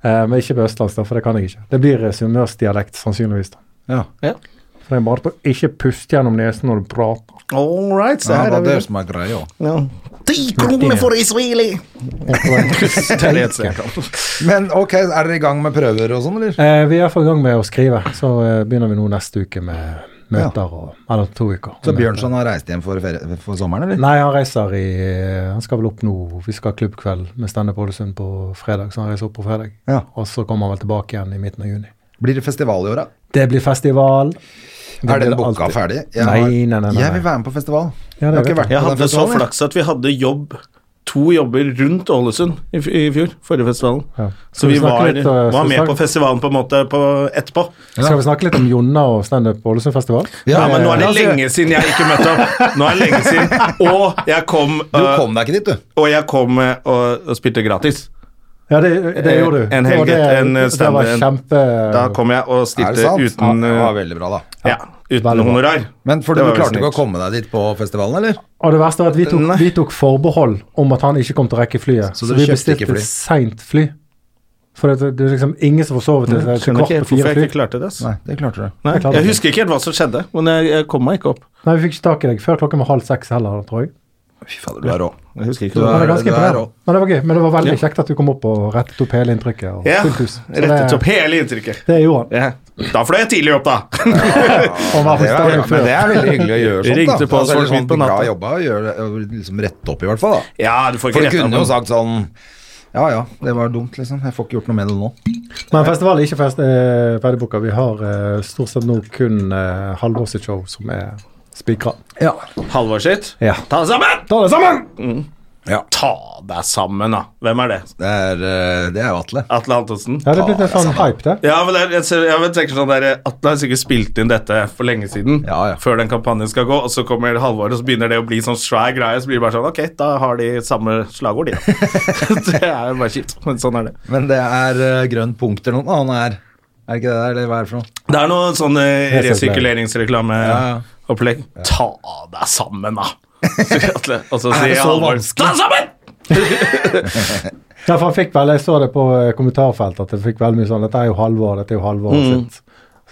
Eh, men ikke på østlandsk, da, for det kan jeg ikke. Det blir eh, sunnmørsdialekt, sannsynligvis. da.
ja.
For det er bare på ikke puste gjennom nesen når du prater.
All right, se
Så
her
her
er vi.
som er greia.
Ja. Ti kroner for israeli! Det er det eneste jeg kan.
Men ok, er dere i gang med prøver og sånn, eller?
Eh, vi er iallfall i gang med å skrive, så eh, begynner vi nå neste uke med møter og Eller to uker.
Så Bjørnson har reist hjem for, ferie, for sommeren, eller?
Nei, han reiser i Han skal vel opp nå. Vi skal ha klubbkveld med Standup Ålesund på fredag, så han reiser opp på fredag.
Ja.
Og så kommer han vel tilbake igjen i midten av juni.
Blir det festival i år, da?
Det blir festival.
Er den
blir det
boka
alltid.
ferdig? Jeg
Nei,
har-
nei, nei, nei, nei.
Jeg vil være med på festival. jeg
Ja, det
har
vet jeg.
ikke vært
Jeg
på den
hadde så
festivalen. jeg.
flaks at vi hadde jobb, to jobber rundt Ålesund i, f- i fjor, forrige festivalen.
Ja.
Så
Skal
vi
vi snakke
var,
litt, eh,
var
skal vi
med
snakke-
på festivalen på en måte på etterpå.
Skal vi snakke litt om Jonna og standup på Ålesund festival?
Ja,
Ja,
men nå er det
ja, ja.
lenge siden jeg ikke møtte opp. Nå er det lenge siden. Og jeg kom,
Altså, Du
eh,
kom deg ikke dit, du.
og, jeg kom eh, og, og spilte gratis.
Ja, det, det
Eh,
gjorde du.
en
Og
helg
det-
etter en, eh,
Det var
standup-
kjempe
Da kom jeg og
Er det
stilte
sant?
uten,
ja, det var
eh,
veldig bra, da.
ja, uten
Veldig bra.
honorar.
Men for
Det var
du
jo
klarte ikke å
snilt.
komme deg dit på festivalen, eller?
Og det verste var at vi tok,
Nei.
vi tok forbehold om at han ikke kom til å rekke flyet.
Så
Så,
dere
vi
kjøpte ikke
bestilte
fly?
et seint fly. For det, det er liksom ingen som får sovet til,
Jeg
til
skjønner ikke
kvart på
helt hvorfor
fire
jeg
fly.
ikke klarte det. ass.
Nei, det klarte du.
Nei,
Jeg klarte
jeg
det.
husker ikke helt hva som skjedde, men jeg, jeg kom meg ikke opp.
Nei, vi fikk ikke tak i deg før klokken var halv seks heller, tror jeg.
Fy fader, du er rå.
Jeg husker ikke
Du
det.
Men det,
er,
er ganske
du er rå.
imponerende. Men det var gøy. Men det var veldig
Ja.
kjekt at du kom opp og rettet opp hele inntrykket. Og
Ja,
fullt hus. Så
rettet
det-
opp hele inntrykket.
Det gjorde han.
Ja. Da fløy jeg tidlig opp, da.
Og var
Det
på
er, ja,
stadion
men
før.
det er veldig hyggelig å gjøre
Vi
sånt, da.
ringte på oss
det er veldig
folk midt på
sånn bra
natta.
jobba å gjøre det, og liksom rette opp i hvert fall, da.
Ja, du får
For
ikke
du kunne jo
rett
sagt sånn Ja ja, det var dumt, liksom. Jeg får ikke gjort noe med det nå.
Men festivalen er ikke fest, eh, ferdigboka. Vi har eh, stort sett nå kun eh, halvårets show som er spikra.
Ja.
Halvor sitt.
Ja.
Ta deg sammen!
Ta det sammen!
Ta deg sammen, da. Hvem er det?
Det er, eh, det er jo Atle.
Atle Antonsen?
Ja, det er blitt en sånn hype, det.
Ja, men jeg, jeg, ser- jeg vet- tenker sånn der, Atle har sikkert spilt inn dette for lenge siden,
Ja, ja.
før den kampanjen skal gå, og så kommer halvåret, og så begynner det å bli sånn svær greie, så blir det bare sånn, ok, da har de samme slagord, de. da. det er jo bare kjipt, men sånn er det.
Men det er eh, grønt punkt eller noe annet her. Er det ikke det der, eller hva er det for noe?
Det er noe sånn eh,
Ja,
Resirkulering.
ja.
resirkuleringsreklameopplegg. Ta deg sammen, da! sier Atle. Og så
det
sier
så
Halvor Ta
vanskelig?
deg sammen!
Ja, for han fikk vel, Jeg så det på eh, kommentarfeltet at jeg fikk veldig mye sånn Dette er jo halvår, dette er jo halvår sitt.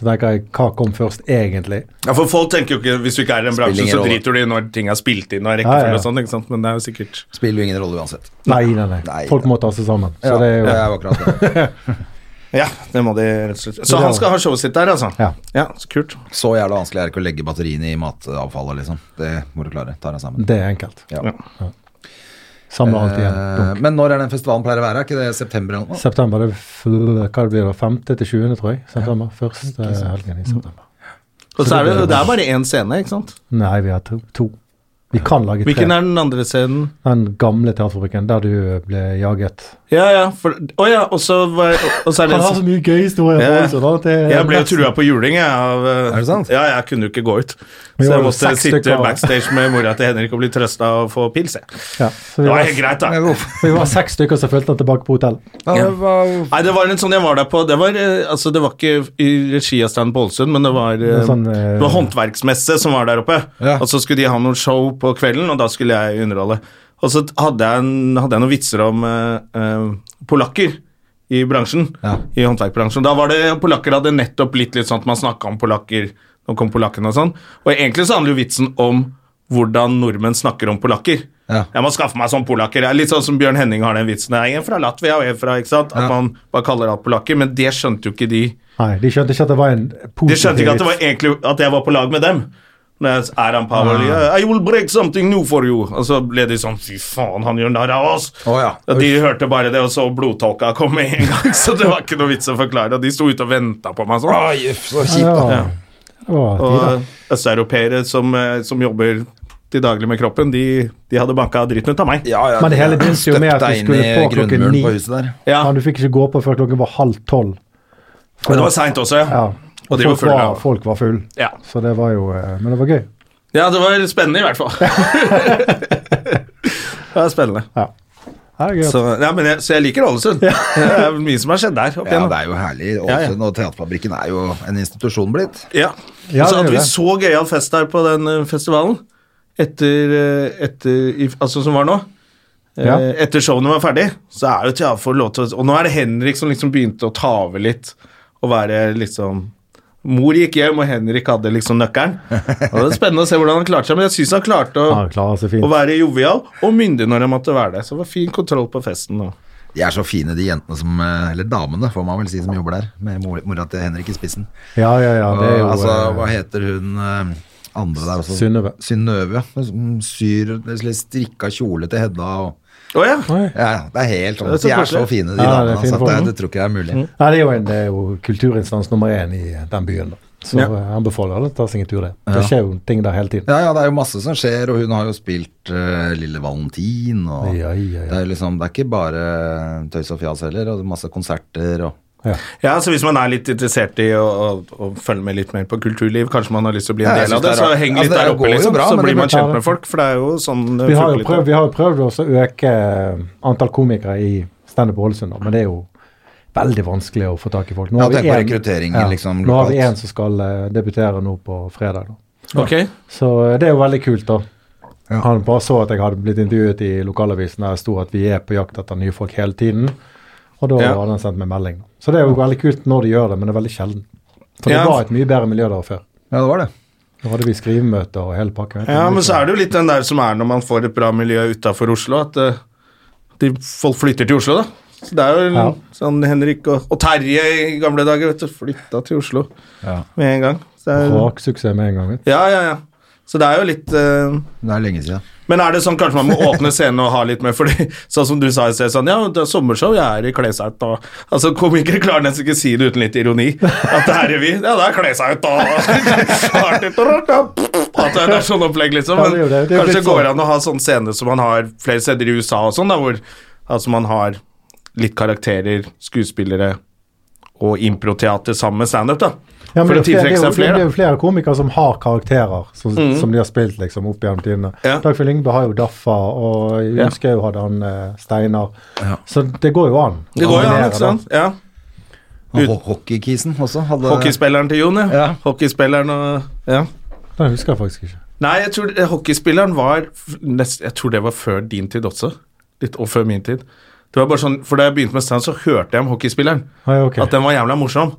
Så tenker jeg, hva kom først egentlig?
Ja, for folk tenker jo ikke Hvis du ikke er i den
Spiller
bransjen,
ingen
så
rolle.
driter du i når ting er spilt inn og
Ja,
rekkefølge
ja.
og sånn, ikke sant, men det er jo sikkert
Spiller jo ingen rolle uansett.
Nei, nei, nei.
Nei.
Folk må ta seg sammen. Så
ja,
det er jo
det er jo akkurat det.
Ja, det må de rett og slett Så han skal ha showet sitt der, altså?
Ja.
så kult.
Så jævla vanskelig er det ikke å legge batteriene i matavfallet, liksom. Det må du klare. Tar deg sammen.
Det er enkelt.
Ja.
Samle alt igjen.
Eh, men når er den festivalen pleier å være? Er ikke det september eller noe?
September, det er fl- hva blir det, 5. til 20., tror jeg. September, Første helgen i september.
Og så er det, det er bare én scene, ikke sant?
Nei, vi har to. to. Vi kan lage
Hvilken
tre.
er den andre scenen?
Den gamle teaterfabrikken der du eh, ble jaget.
Ja, ja, for Å ja, og så var- og så er det
Han har så mye gøye historier.
Ja.
på Ålesund, da, at det er
Jeg ble jo
nesten-
trua på juling, jeg. Av, eh,
Er det sant?
Ja, jeg kunne jo ikke gå ut.
Vi
Så
var
jeg
jo
måtte
seks
sitte
stykker.
backstage med mora til Henrik og bli trøsta og få pils, jeg.
Ja, så vi
Det var
var,
helt greit, da.
Men hvorfor?
vi var seks stykker som fulgte han tilbake på hotell.
Ja, det var-
Nei, det var en sånn jeg var der på. Det var, eh, altså, det var ikke i regi av Stein Pålsund, men det var, eh,
er sånn, eh,
det var håndverksmesse som var der oppe.
Ja.
Og så skulle de ha noen show på kvelden, og da skulle jeg underholde. Og så hadde jeg, en, hadde jeg noen vitser om eh, eh, polakker i bransjen,
Ja.
i håndverkbransjen. Da var det, polakker hadde nettopp blitt litt sånn at man snakket om polakker, nå kom polakken og sånn. Og egentlig så handler jo vitsen om hvordan nordmenn snakker om polakker.
Ja.
Jeg må skaffe meg sånn polakker. Det er litt sånn som Bjørn Henning har den vitsen. Jeg er en fra Latvia og en fra, ikke sant? At
Ja.
man bare kaller alt polakker, men det skjønte jo ikke de.
Nei, de skjønte ikke at det var en
De
positiv
skjønte ikke at det
vits.
var egentlig at jeg var på lag med dem. Når jeg er han
Ah.
Pavel, I will break something new for you. Og så ble de sånn, fy faen, han gjør narr av oss.
Å ja.
Og de hørte bare det, og så blodtolka kom med en gang. Så det var ikke noe vits å forklare. Og de sto ute og venta på meg sånn.
Oi, uff, så
Ja,
kjipt.
ja. Det var tider.
Og østeuropeere som, eh, som jobber til daglig med kroppen, de, de hadde banka dritten ut av meg.
Ja, ja,
Men det hele begynte jo med at
støpte
du
deg inn
skulle
i
på klokken
grunnmuren
ni.
På huset der.
Ja.
Men du fikk ikke gå på før klokken var halv tolv.
Men det var seint også, ja.
Ja.
Og de var
folk,
fulle.
var,
ja.
folk var full.
Ja.
Så det var jo eh, Men det var gøy.
ja, det var spennende i hvert fall. det var spennende.
Ja, det er gøy.
Så, ja, men jeg, så jeg liker Ålesund. Det er mye som har skjedd der. opp
Ja,
igjennom.
det er jo herlig. Ålesund og Teaterfabrikken er jo en institusjon blitt.
Ja.
Ja,
og så hadde
det gjør
vi
det.
så gøyal fest der på den eh, festivalen, etter, eh, etter i, Altså som var nå. Eh,
Ja.
Etter showene var ferdig, så er jo Teater lov til å Og nå er det Henrik som liksom begynte å ta over litt, og være liksom Mor gikk hjem, og Henrik hadde liksom nøkkelen. Og det er Spennende å se hvordan han klarte seg, men jeg syns han klarte å,
Han klarer seg fint.
å være jovial og myndig når han måtte være det. Så det var fin kontroll på festen. Og.
De er så fine, de jentene som eh, Eller damene, får man vel si, som jobber der. Med mor- mora til Henrik i spissen.
Ja, ja, ja. Det er jo
Og, altså,
eh,
hva heter hun eh, andre der også?
Synnøve.
Synnøve. Som syr eller strikka kjole til Hedda og
Å ja.
Oi.
ja, ja, det er helt sånn.
Det er så
de er så
koselig.
fine, de
Ja, det er Mm.
damene.
fine
altså, at det,
folk.
det tror ikke det er mulig.
Nei, det er jo, en, det er jo kulturinstans nummer én i eh, den byen. da. Så
Ja.
eh, han befaler alle å ta seg en tur der. Det skjer jo ting der hele tiden.
Ja, ja, det er jo masse som skjer, og hun har jo spilt eh, Lille Valentin, og
Ja, ja, ja.
Det, er liksom, det er ikke bare tøys og fjas heller, og det er masse konserter og
Ja.
Ja, så hvis man er litt interessert i å, å, å følge med litt mer på kulturliv, kanskje man har lyst til å bli en
Ja, jeg
del av det,
synes det er
så
rart.
heng
Altså,
litt
det
der
går
oppe,
jo
liksom.
bra,
så
men
blir
det
man
blir
kjent
bra.
med folk, for det er jo sånn det
Vi har
funker
jo
litt.
prøvd, vi har jo prøvd også å øke eh, antall komikere i standup på Ålesund, da, men det er jo veldig vanskelig å få tak i folk. Nå
Ja,
har vi
tenk på
en-
rekrutteringen, liksom,
nå har vi
lokalt.
en som skal eh, debutere nå på fredag. Da.
Ok.
Så eh, det er jo veldig kult, da. Han bare så at jeg hadde blitt intervjuet i lokalavisen der det sto at vi er på jakt etter nye folk hele tiden. Og da
Ja.
hadde han sendt meg melding. da. Så det er jo veldig kult når de gjør det, men det er veldig sjelden. For det
Ja.
var et mye bedre miljø der før.
Ja, det var det.
Nå hadde vi skrivemøter og hele pakken.
Ja, men så er det jo litt den der som er når man får et bra miljø utafor Oslo, at eh, de, folk flytter til Oslo, da. Så det er jo
Ja.
sånn Henrik og, og Terje i gamle dager, vet du, flytta til Oslo med en gang. Så det er,
Braksuksess med en gang. vet du.
ja, ja, ja. Så det er jo litt eh,
Det er lenge siden.
Men er det sånn kanskje man må åpne scenen og ha litt mer Fordi sånn som du sa i sted, sånn Ja, det er sommershow, jeg er i klesaut og Altså, komikere klarer nesten ikke å si det uten litt ironi. At det her er vi. Ja, det er klesaut og At det er sånn opplegg, liksom.
Ja, det er jo
Men
det. Det er jo
kanskje
litt
går
sånn.
det an å ha sånn scene som man har flere steder i USA og sånn, da, hvor altså man har litt karakterer, skuespillere og improteater sammen med standup, da.
Ja, men
For å
det, er flere, det,
tiltrekke
er
seg
jo, det er
flere. Mhm.
jo flere komikere som har karakterer som, som de har spilt liksom opp gjennom tidene.
Ja.
Dagfinn Lyngbø har jo Daffa, og
Ja.
Jønskau hadde han eh, Steinar. Så det går jo an.
Det går jo an,
Kombinere,
ikke
da.
sant? Ja.
Og
Ut-
ho- hockeykisen også hadde
Hockeyspilleren til Jon, ja.
Ja.
Hockeyspilleren og Ja.
Det husker jeg faktisk ikke.
Nei, jeg tror eh, hockeyspilleren var f- nest, Jeg tror det var før din tid også. Litt, og før min tid. Det var bare sånn, For da jeg begynte med stand, så hørte jeg om hockeyspilleren.
Ah, ja, ok.
At den var jævla morsom.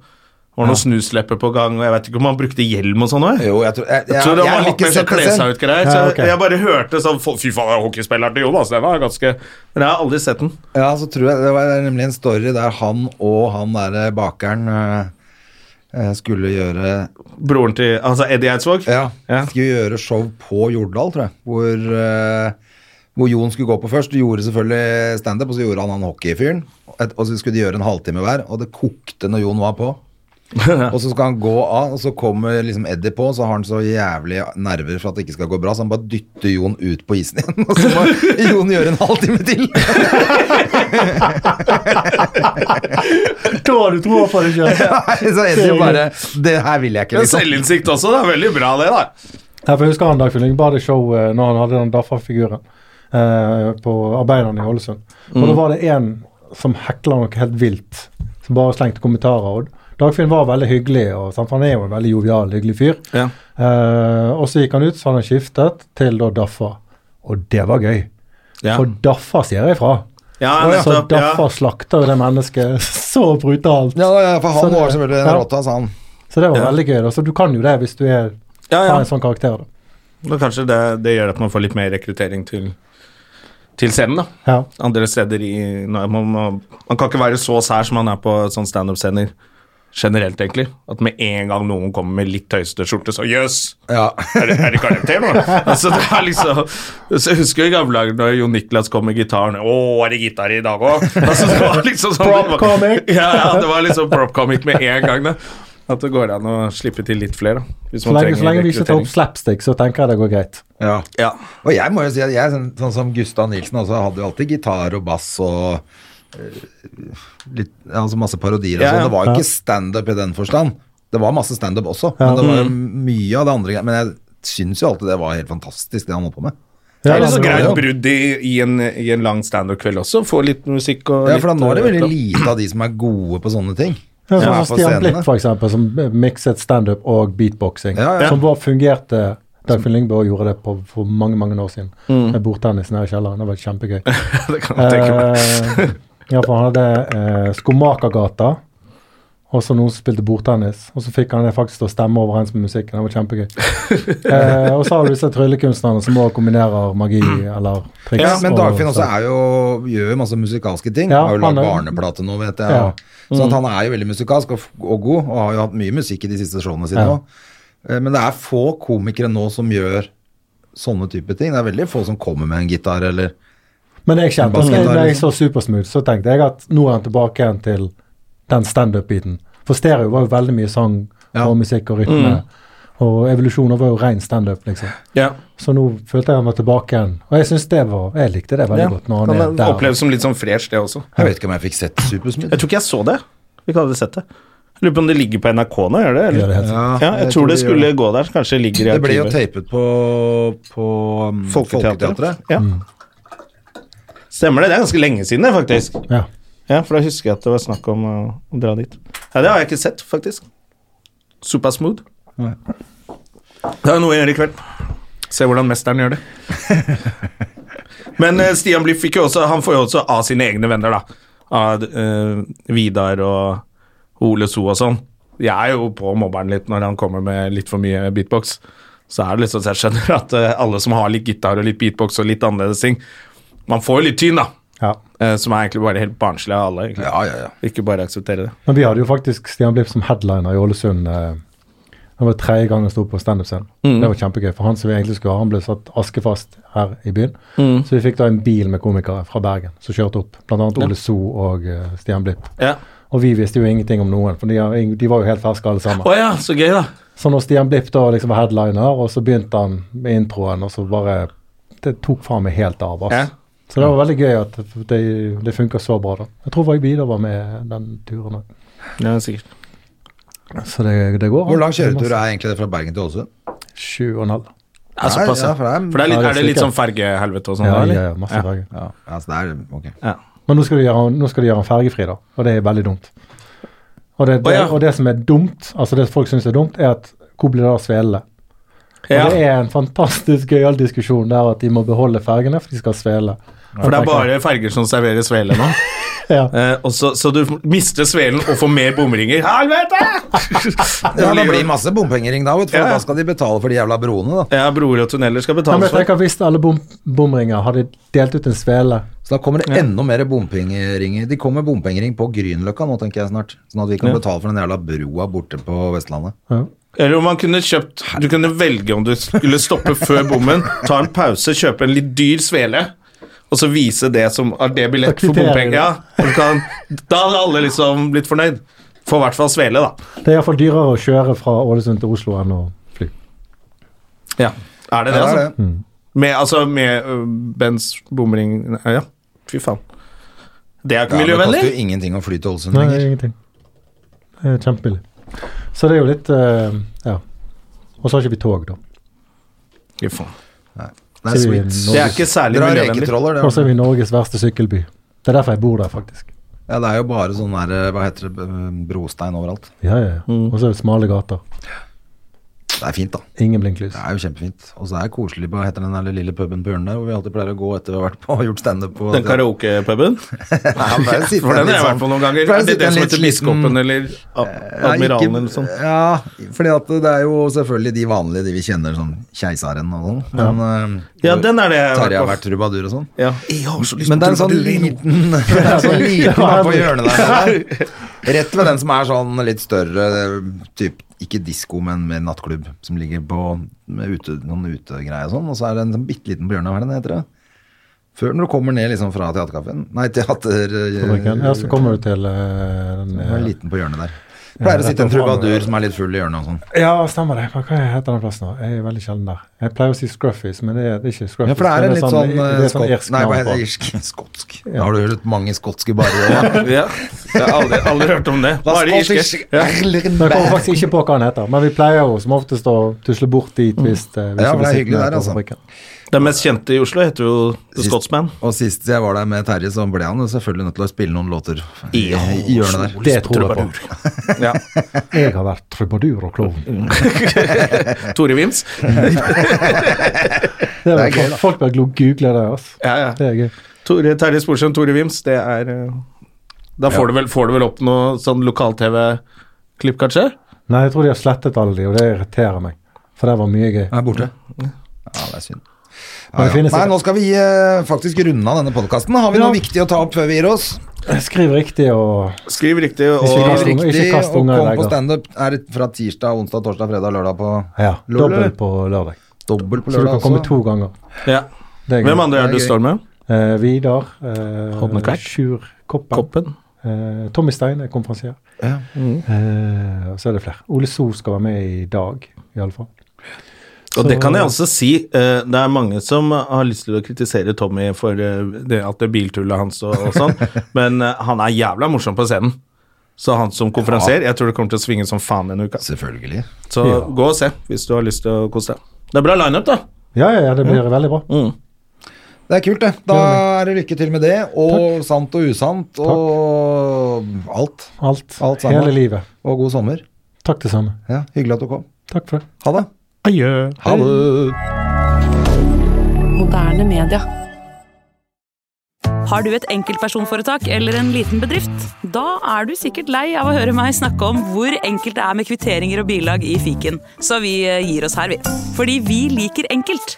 Det var noen snuslepper på gang, og jeg vet ikke om han brukte hjelm og sånn òg.
Jo, jeg tror Jeg, jeg,
Jeg tror det var
har
litt
ikke
mer sånn
sett det
kle seg
selv.
ut-greier. Så
Ja, ok.
jeg- jeg bare hørte sånn "Fy- Fy faen, det er hockeyspilleren til Jonas, den var ganske Men jeg har aldri sett den.
Ja, så tror jeg Det var nemlig en story der han og han derre bakeren eh, eh, skulle gjøre
Broren til Altså Eddie Eidsvåg.
ja,
Ja.
skulle gjøre show på Jordal, tror jeg. Hvor, eh, hvor Jon skulle gå på først. Du gjorde selvfølgelig standup, og så gjorde han han hockeyfyren. Et- Og så skulle de gjøre en halvtime hver, og det kokte når Jon var på. og så skal han gå av, og så kommer liksom Eddie på, og så har han så jævlig nerver for at det ikke skal gå bra, så han bare dytter Jon ut på isen igjen. Og så må Jon gjøre en halvtime til!
Da har du troa på det sjøl!
så Eddie bare Det her vil jeg ikke,
Men
liksom.
Selvinnsikt også, det er veldig bra, det, da.
Ja, for jeg husker han Dagfinn Lyngbar hadde show eh, når han hadde den Daffa-figuren eh, på Arbeiderne i Ålesund. Og
Mm.
da var det en som hekla noe helt vilt, som bare slengte kommentarer. Og Dagfinn var veldig hyggelig, og, sånn, for han er jo en veldig jovial, hyggelig fyr.
Ja.
Eh, og så gikk han ut, så hadde han skiftet til da Daffa. Og det var gøy.
Ja.
For Daffa sier jeg ifra.
Ja,
så
nettopp, ja.
Daffa slakter jo det mennesket så brutalt.
Ja, ja, for
Så
han
det-
var selvfølgelig en
ja.
råta, sa han.
Så det var
Ja.
veldig gøy. Da. Så du kan jo det hvis du er,
Ja, ja.
har en sånn karakter. Da.
Men kanskje det, det gjør at man får litt mer rekruttering til, til scenen, da.
Ja.
andre steder i nei, man, man, man kan ikke være så sær som man er på sånn standup-scener generelt, egentlig. At med en gang noen kommer med litt tøysete skjorte, så jøss!
Ja.
Er det, er det karakter nå? altså, det er liksom, så jeg husker jo i gamle dager da Jon Niklas kom med gitaren. 'Å, er det gitar i dag òg?' Altså, det var liksom sånn,
Prop
det var-
comic.
Ja, ja, det var liksom prop comic med en gang. Da. At det går an å slippe til litt flere. da, Hvis
Så lenge, så lenge vi ikke tar
rekruttering.
opp slapstick, så tenker jeg det går greit.
Ja.
Ja.
Og jeg må jo si at jeg, sånn, sånn som Gustav Nilsen også, hadde jo alltid gitar og bass og eh, litt, ja, altså masse parodier og
Ja, ja.
sånn. Det var jo ikke standup i den forstand. Det var masse standup også, men det var jo
Mm.
mye av det andre. greiene. Men jeg syns jo alltid det var helt fantastisk, det han holdt på med.
Det er litt så
det var
greit
det.
brudd i, i, en, i en lang standup-kveld også. Få litt musikk og
Ja,
litt
for da nå er det veldig
eh,
lite av de som er gode på sånne ting.
Ja, sånn
Ja,
som
på
Stian
scenene.
Blipp, for eksempel, som eh, mikset standup og beatboxing.
Ja, ja.
Som bare fungerte Dagfinn Lyngbø gjorde det på, for mange mange år siden.
Mm.
Med bordtennisen her i kjelleren. Det var kjempegøy.
det kan jeg tenke meg.
Eh, ja, for han hadde eh, Skomakergata, Og så noen som spilte bordtennis, og så fikk han det faktisk til å stemme overens med musikken. Det var kjempegøy. eh, og så har du disse tryllekunstnerne som også kombinerer magi
Mm.
eller triks.
Ja, men
og-
Dagfinn også er jo, gjør jo masse musikalske ting.
Ja,
har jo
han
lagd
er-
barneplate nå, vet jeg.
Ja. Mm.
Så at han er jo veldig musikalsk og, f- og god, og har jo hatt mye musikk i de siste showene sine
Ja.
òg. Men det er få komikere nå som gjør sånne type ting. Det er veldig få som kommer med en gitar eller
Men jeg kjente at
Basketball.
når jeg så Supersmooth, så tenkte jeg at nå er han tilbake igjen til den standup-biten. For stereo var jo veldig mye sang
Ja.
og musikk og rytme. Og evolusjoner var jo ren standup, liksom.
Ja.
Så nå følte jeg han var tilbake igjen. Og jeg synes det var Jeg likte det veldig
Ja.
godt når han er der.
Opplevd som litt sånn fresh, det også.
Jeg vet ikke om jeg fikk sett Supersmith.
Jeg tror ikke jeg så det. Vi kan hadde sett det. Jeg lurer på om det ligger på NRK nå, gjør det?
Gjør det helt
Ja,
sikkert.
jeg, tror, det
de gjør
skulle gå der. så Kanskje det ligger i
Det ble jo
arkivet.
tapet på, på um, Folketeatret.
Folketeatret. Ja. Stemmer det. Det er ganske lenge siden, det, faktisk.
Ja.
Ja, for da husker jeg at det var snakk om å, å dra dit. Ja, det har jeg ikke sett, faktisk. Såpass smooth.
Det er jo noe jeg gjør i kveld. Se hvordan mesteren gjør det. Men eh, Stian Bliff fikk jo også, han får jo også av sine egne venner, da. Av eh, Vidar og Ole So og sånn. Jeg er jo på mobberen litt når han kommer med litt for mye beatbox. Så er det liksom så jeg skjønner at eh, alle som har litt gitar og litt beatbox og litt annerledes ting Man får jo litt tyn, da.
ja.
eh, som er egentlig bare helt barnslig av alle. egentlig.
Ja, ja, ja.
Ikke bare akseptere det.
Men vi hadde jo faktisk Stian Blipp som headliner i Ålesund. eh, Det var tredje gang han sto på standup-scenen.
Mm.
Det var kjempegøy. For han som vi egentlig skulle ha, han ble satt askefast her i byen.
Mm.
Så vi fikk da en bil med komikere fra Bergen som kjørte opp. Blant annet Ole So og eh, Stian Blipp.
Ja.
Og vi visste jo ingenting om noen, for de, har ing- de var jo helt ferske alle sammen.
Å ja, så gøy, da.
Så når Stian Blipp da liksom var headliner, og så begynte han med introen, og så bare Det tok faen meg helt av, ass.
Ja.
Så det var veldig gøy at det, det funka så bra, da. Jeg tror Varg Vidar var med den turen òg.
Ja, sikkert.
Så det, det går.
Hvor lang kjøretur er egentlig det fra Bergen til Ålesund?
Sju og en halv.
Ja,
Nei,
såpass, ja.
ja, for det
For det er,
er-
litt,
Ja, det er
er det litt
sikkert.
sånn fergehelvete og sånn?
Ja,
da, eller?
ja, ja, masse ferger.
Ja, så det er ok.
Men nå skal, de gjøre, han- nå skal de gjøre han fergefri, da. Og det er veldig dumt. Og det,
Å,
det,
ja.
og det som er dumt, altså det folk syns er dumt, er at hvor blir det av svelene? Og
Ja.
det er en fantastisk gøyal diskusjon der at de må beholde fergene, for de skal ha svele.
For det er bare ferger som serverer svele nå.
ja.
Eh, og så, så du mister svelen og får mer bomringer. Helvete!
Ja, det blir masse bompengering da, vet du, for
Ja, ja.
da skal de betale for de jævla broene, da.
Ja, broer og tunneler skal
Ja, men
betales
jeg
for.
tenker Hvis alle bom bomringer hadde delt ut en svele
Så da kommer det enda mer bompengeringer. De kommer bompengering på Grünerløkka nå, tenker jeg snart. Sånn at vi kan betale for den jævla broa borte på Vestlandet.
Eller om man kunne kjøpt Du kunne velge om du skulle stoppe før bommen, ta en pause, kjøpe en litt dyr svele, og så vise det som er det billett for
kvitterer
bompenger.
du.
Ja, og du kan, da hadde alle liksom blitt fornøyd. Få i hvert fall svele, da.
Det er iallfall dyrere å kjøre fra Ålesund til Oslo enn å fly.
Ja. Er det det,
Ja, det er
altså? Med, altså med øh, Bens bomring nei, Ja, fy faen. Det er
Ja,
ikke
det koster
miljøvennlig.
jo ingenting å fly til Ålesund
Nei,
lenger.
ingenting. Det er kjempebillig. Så det er jo litt eh, Ja. Og så har ikke vi tog, da.
Fy faen.
Det er
Så vi-
sweet.
Det er ikke særlig
Dere har
miljøvennlig.
reketroller,
Og så
det.
er vi Norges verste sykkelby. Det er derfor jeg bor der, faktisk.
Ja, det er jo bare sånn der, hva heter det, brostein overalt.
Ja, ja, ja.
Mm.
Og så er det smale gater.
Det er fint, da.
Ingen blinklys.
Det er jo kjempefint. Og så er det koselig på, hva heter den der lille puben på Ørnen der, hvor vi alltid pleier å gå etter vi har vært på og gjort standup på.
Den karaokepuben?
Ja, men det er jo
For den har
litt
jeg
sånn-
vært på noen ganger.
For
Er det
sitter
det
en
som
litt
heter
sliten-
Biskopen eller Ad-
Ja,
Admiralen
Eh, ikke-
eller sånn? noe sånt?
Ja, fordi at det er jo selvfølgelig de vanlige, de vi kjenner, sånn Keiseren og sånn. Men eh,
Ja, den er det jeg har
Tarjei
vært
har
på.
vært trubadur og sånn.
Ja.
Men det er en sånn liten Det er en sånn liten bar på hjørnet der. Rett ved den som er sånn litt større, typ, ikke disko, men mer nattklubb, som ligger på med ute, noen utegreier og sånn. Og så er det en sånn bitte liten bjørne, hva er den heter det? Før når du kommer ned liksom fra teaterkaffen Nei, teater... eh,
Fabrikken. Ja, så kommer du til eh, den
Den er
eh,
liten på hjørnet der. Pleier å sitte en trubadur som er litt full i hjørnet og sånn.
Ja, stemmer det. Hva hva heter den plassen? da? Jeg er veldig sjelden der. Jeg pleier å si Scruffys, men det er, det er ikke Scruffys.
Ja, for det er en litt sånn,
det er sånn
skotsk
irsk
Nei, hva
navn
heter
på.
det? Irsk? Skotsk. Da har du hørt mange skotske barer.
ja. Jeg har aldri, aldri hørt om det. Bare irske.
Ja.
Men jeg kommer faktisk ikke på hva den heter. Men vi pleier jo som oftest å tusle bort dit hvis
Mm.
eh, hvis
Ja, for det er
vi sitter
hyggelig
nede
der,
på
altså.
fabrikken.
Den mest kjente i Oslo heter jo The
Sist-
Scotsman.
Og sist jeg var der med Terje, så ble han jo selvfølgelig nødt til å spille noen låter i,
Ja,
i hjørnet der.
Det tror jeg på.
Ja.
Jeg har vært trubadur og klovn.
Tore Vims.
Det er
Det er gøy, da.
vel- Folk bør google det. altså.
Ja, ja.
Det er gøy.
Tore, Terje Sporsem, Tore Vims, det er eh, Da får, du, vel, får du vel opp noe sånn lokal-TV-klipp, kanskje?
Nei, jeg tror de har slettet alle de, og det irriterer meg. For det var mye gøy.
Den er borte. Ja, det er synd.
Men
Ja,
det
ja.
finnes
Nei,
ikke-
nå skal vi eh, faktisk runde av denne podkasten. Har vi
Ja.
noe viktig å ta opp før vi gir oss?
Skriv riktig og
Skriv riktig,
Hvis vi
og
kan- Kast unger, ikke kast
og
unger i
kom på
legger.
standup er fra tirsdag, onsdag, torsdag, fredag, lørdag på
ja,
Lol, eller?
dobbelt på lørdag.
Dobbel på
Så du
lørdag
kan komme
også.
to ganger.
ja.
Det er gøy.
Hvem andre er
Det er
det du
gøy.
står med?
Eh, Vidar.
Hodne
Eh,
Kvert.
Sjur Koppen.
Koppen?
Eh, Tommy Stein er konferansier.
Ja.
Eh, og så er det flere. Ole So skal være med i dag, iallfall.
Og det
Så-
kan jeg også si, eh, det er mange som har lyst til å kritisere Tommy for eh, det, at det er biltullet hans og, og sånn, men eh, han er jævla morsom på scenen. Så han som konferansier, jeg tror det kommer til å svinge som faen denne uka.
Selvfølgelig.
Så
Ja.
gå og se hvis du har lyst til å kose deg. Det er bra lineup, da. Mm.
Ja, ja, ja, det blir veldig bra.
Det er kult, det. Da er det lykke til med det, og sant og usant, og alt.
Alt.
Alt sammen.
hele livet.
Og god sommer.
Takk det samme.
Ja, hyggelig at du kom.
Takk for det.
Ha det. Ha det.
Moderne media.
Har du et enkeltpersonforetak eller en liten bedrift? Da er du sikkert lei av å høre meg snakke om hvor enkelt det er med kvitteringer og bilag i fiken, så vi eh, gir oss her, vi. Fordi vi liker enkelt.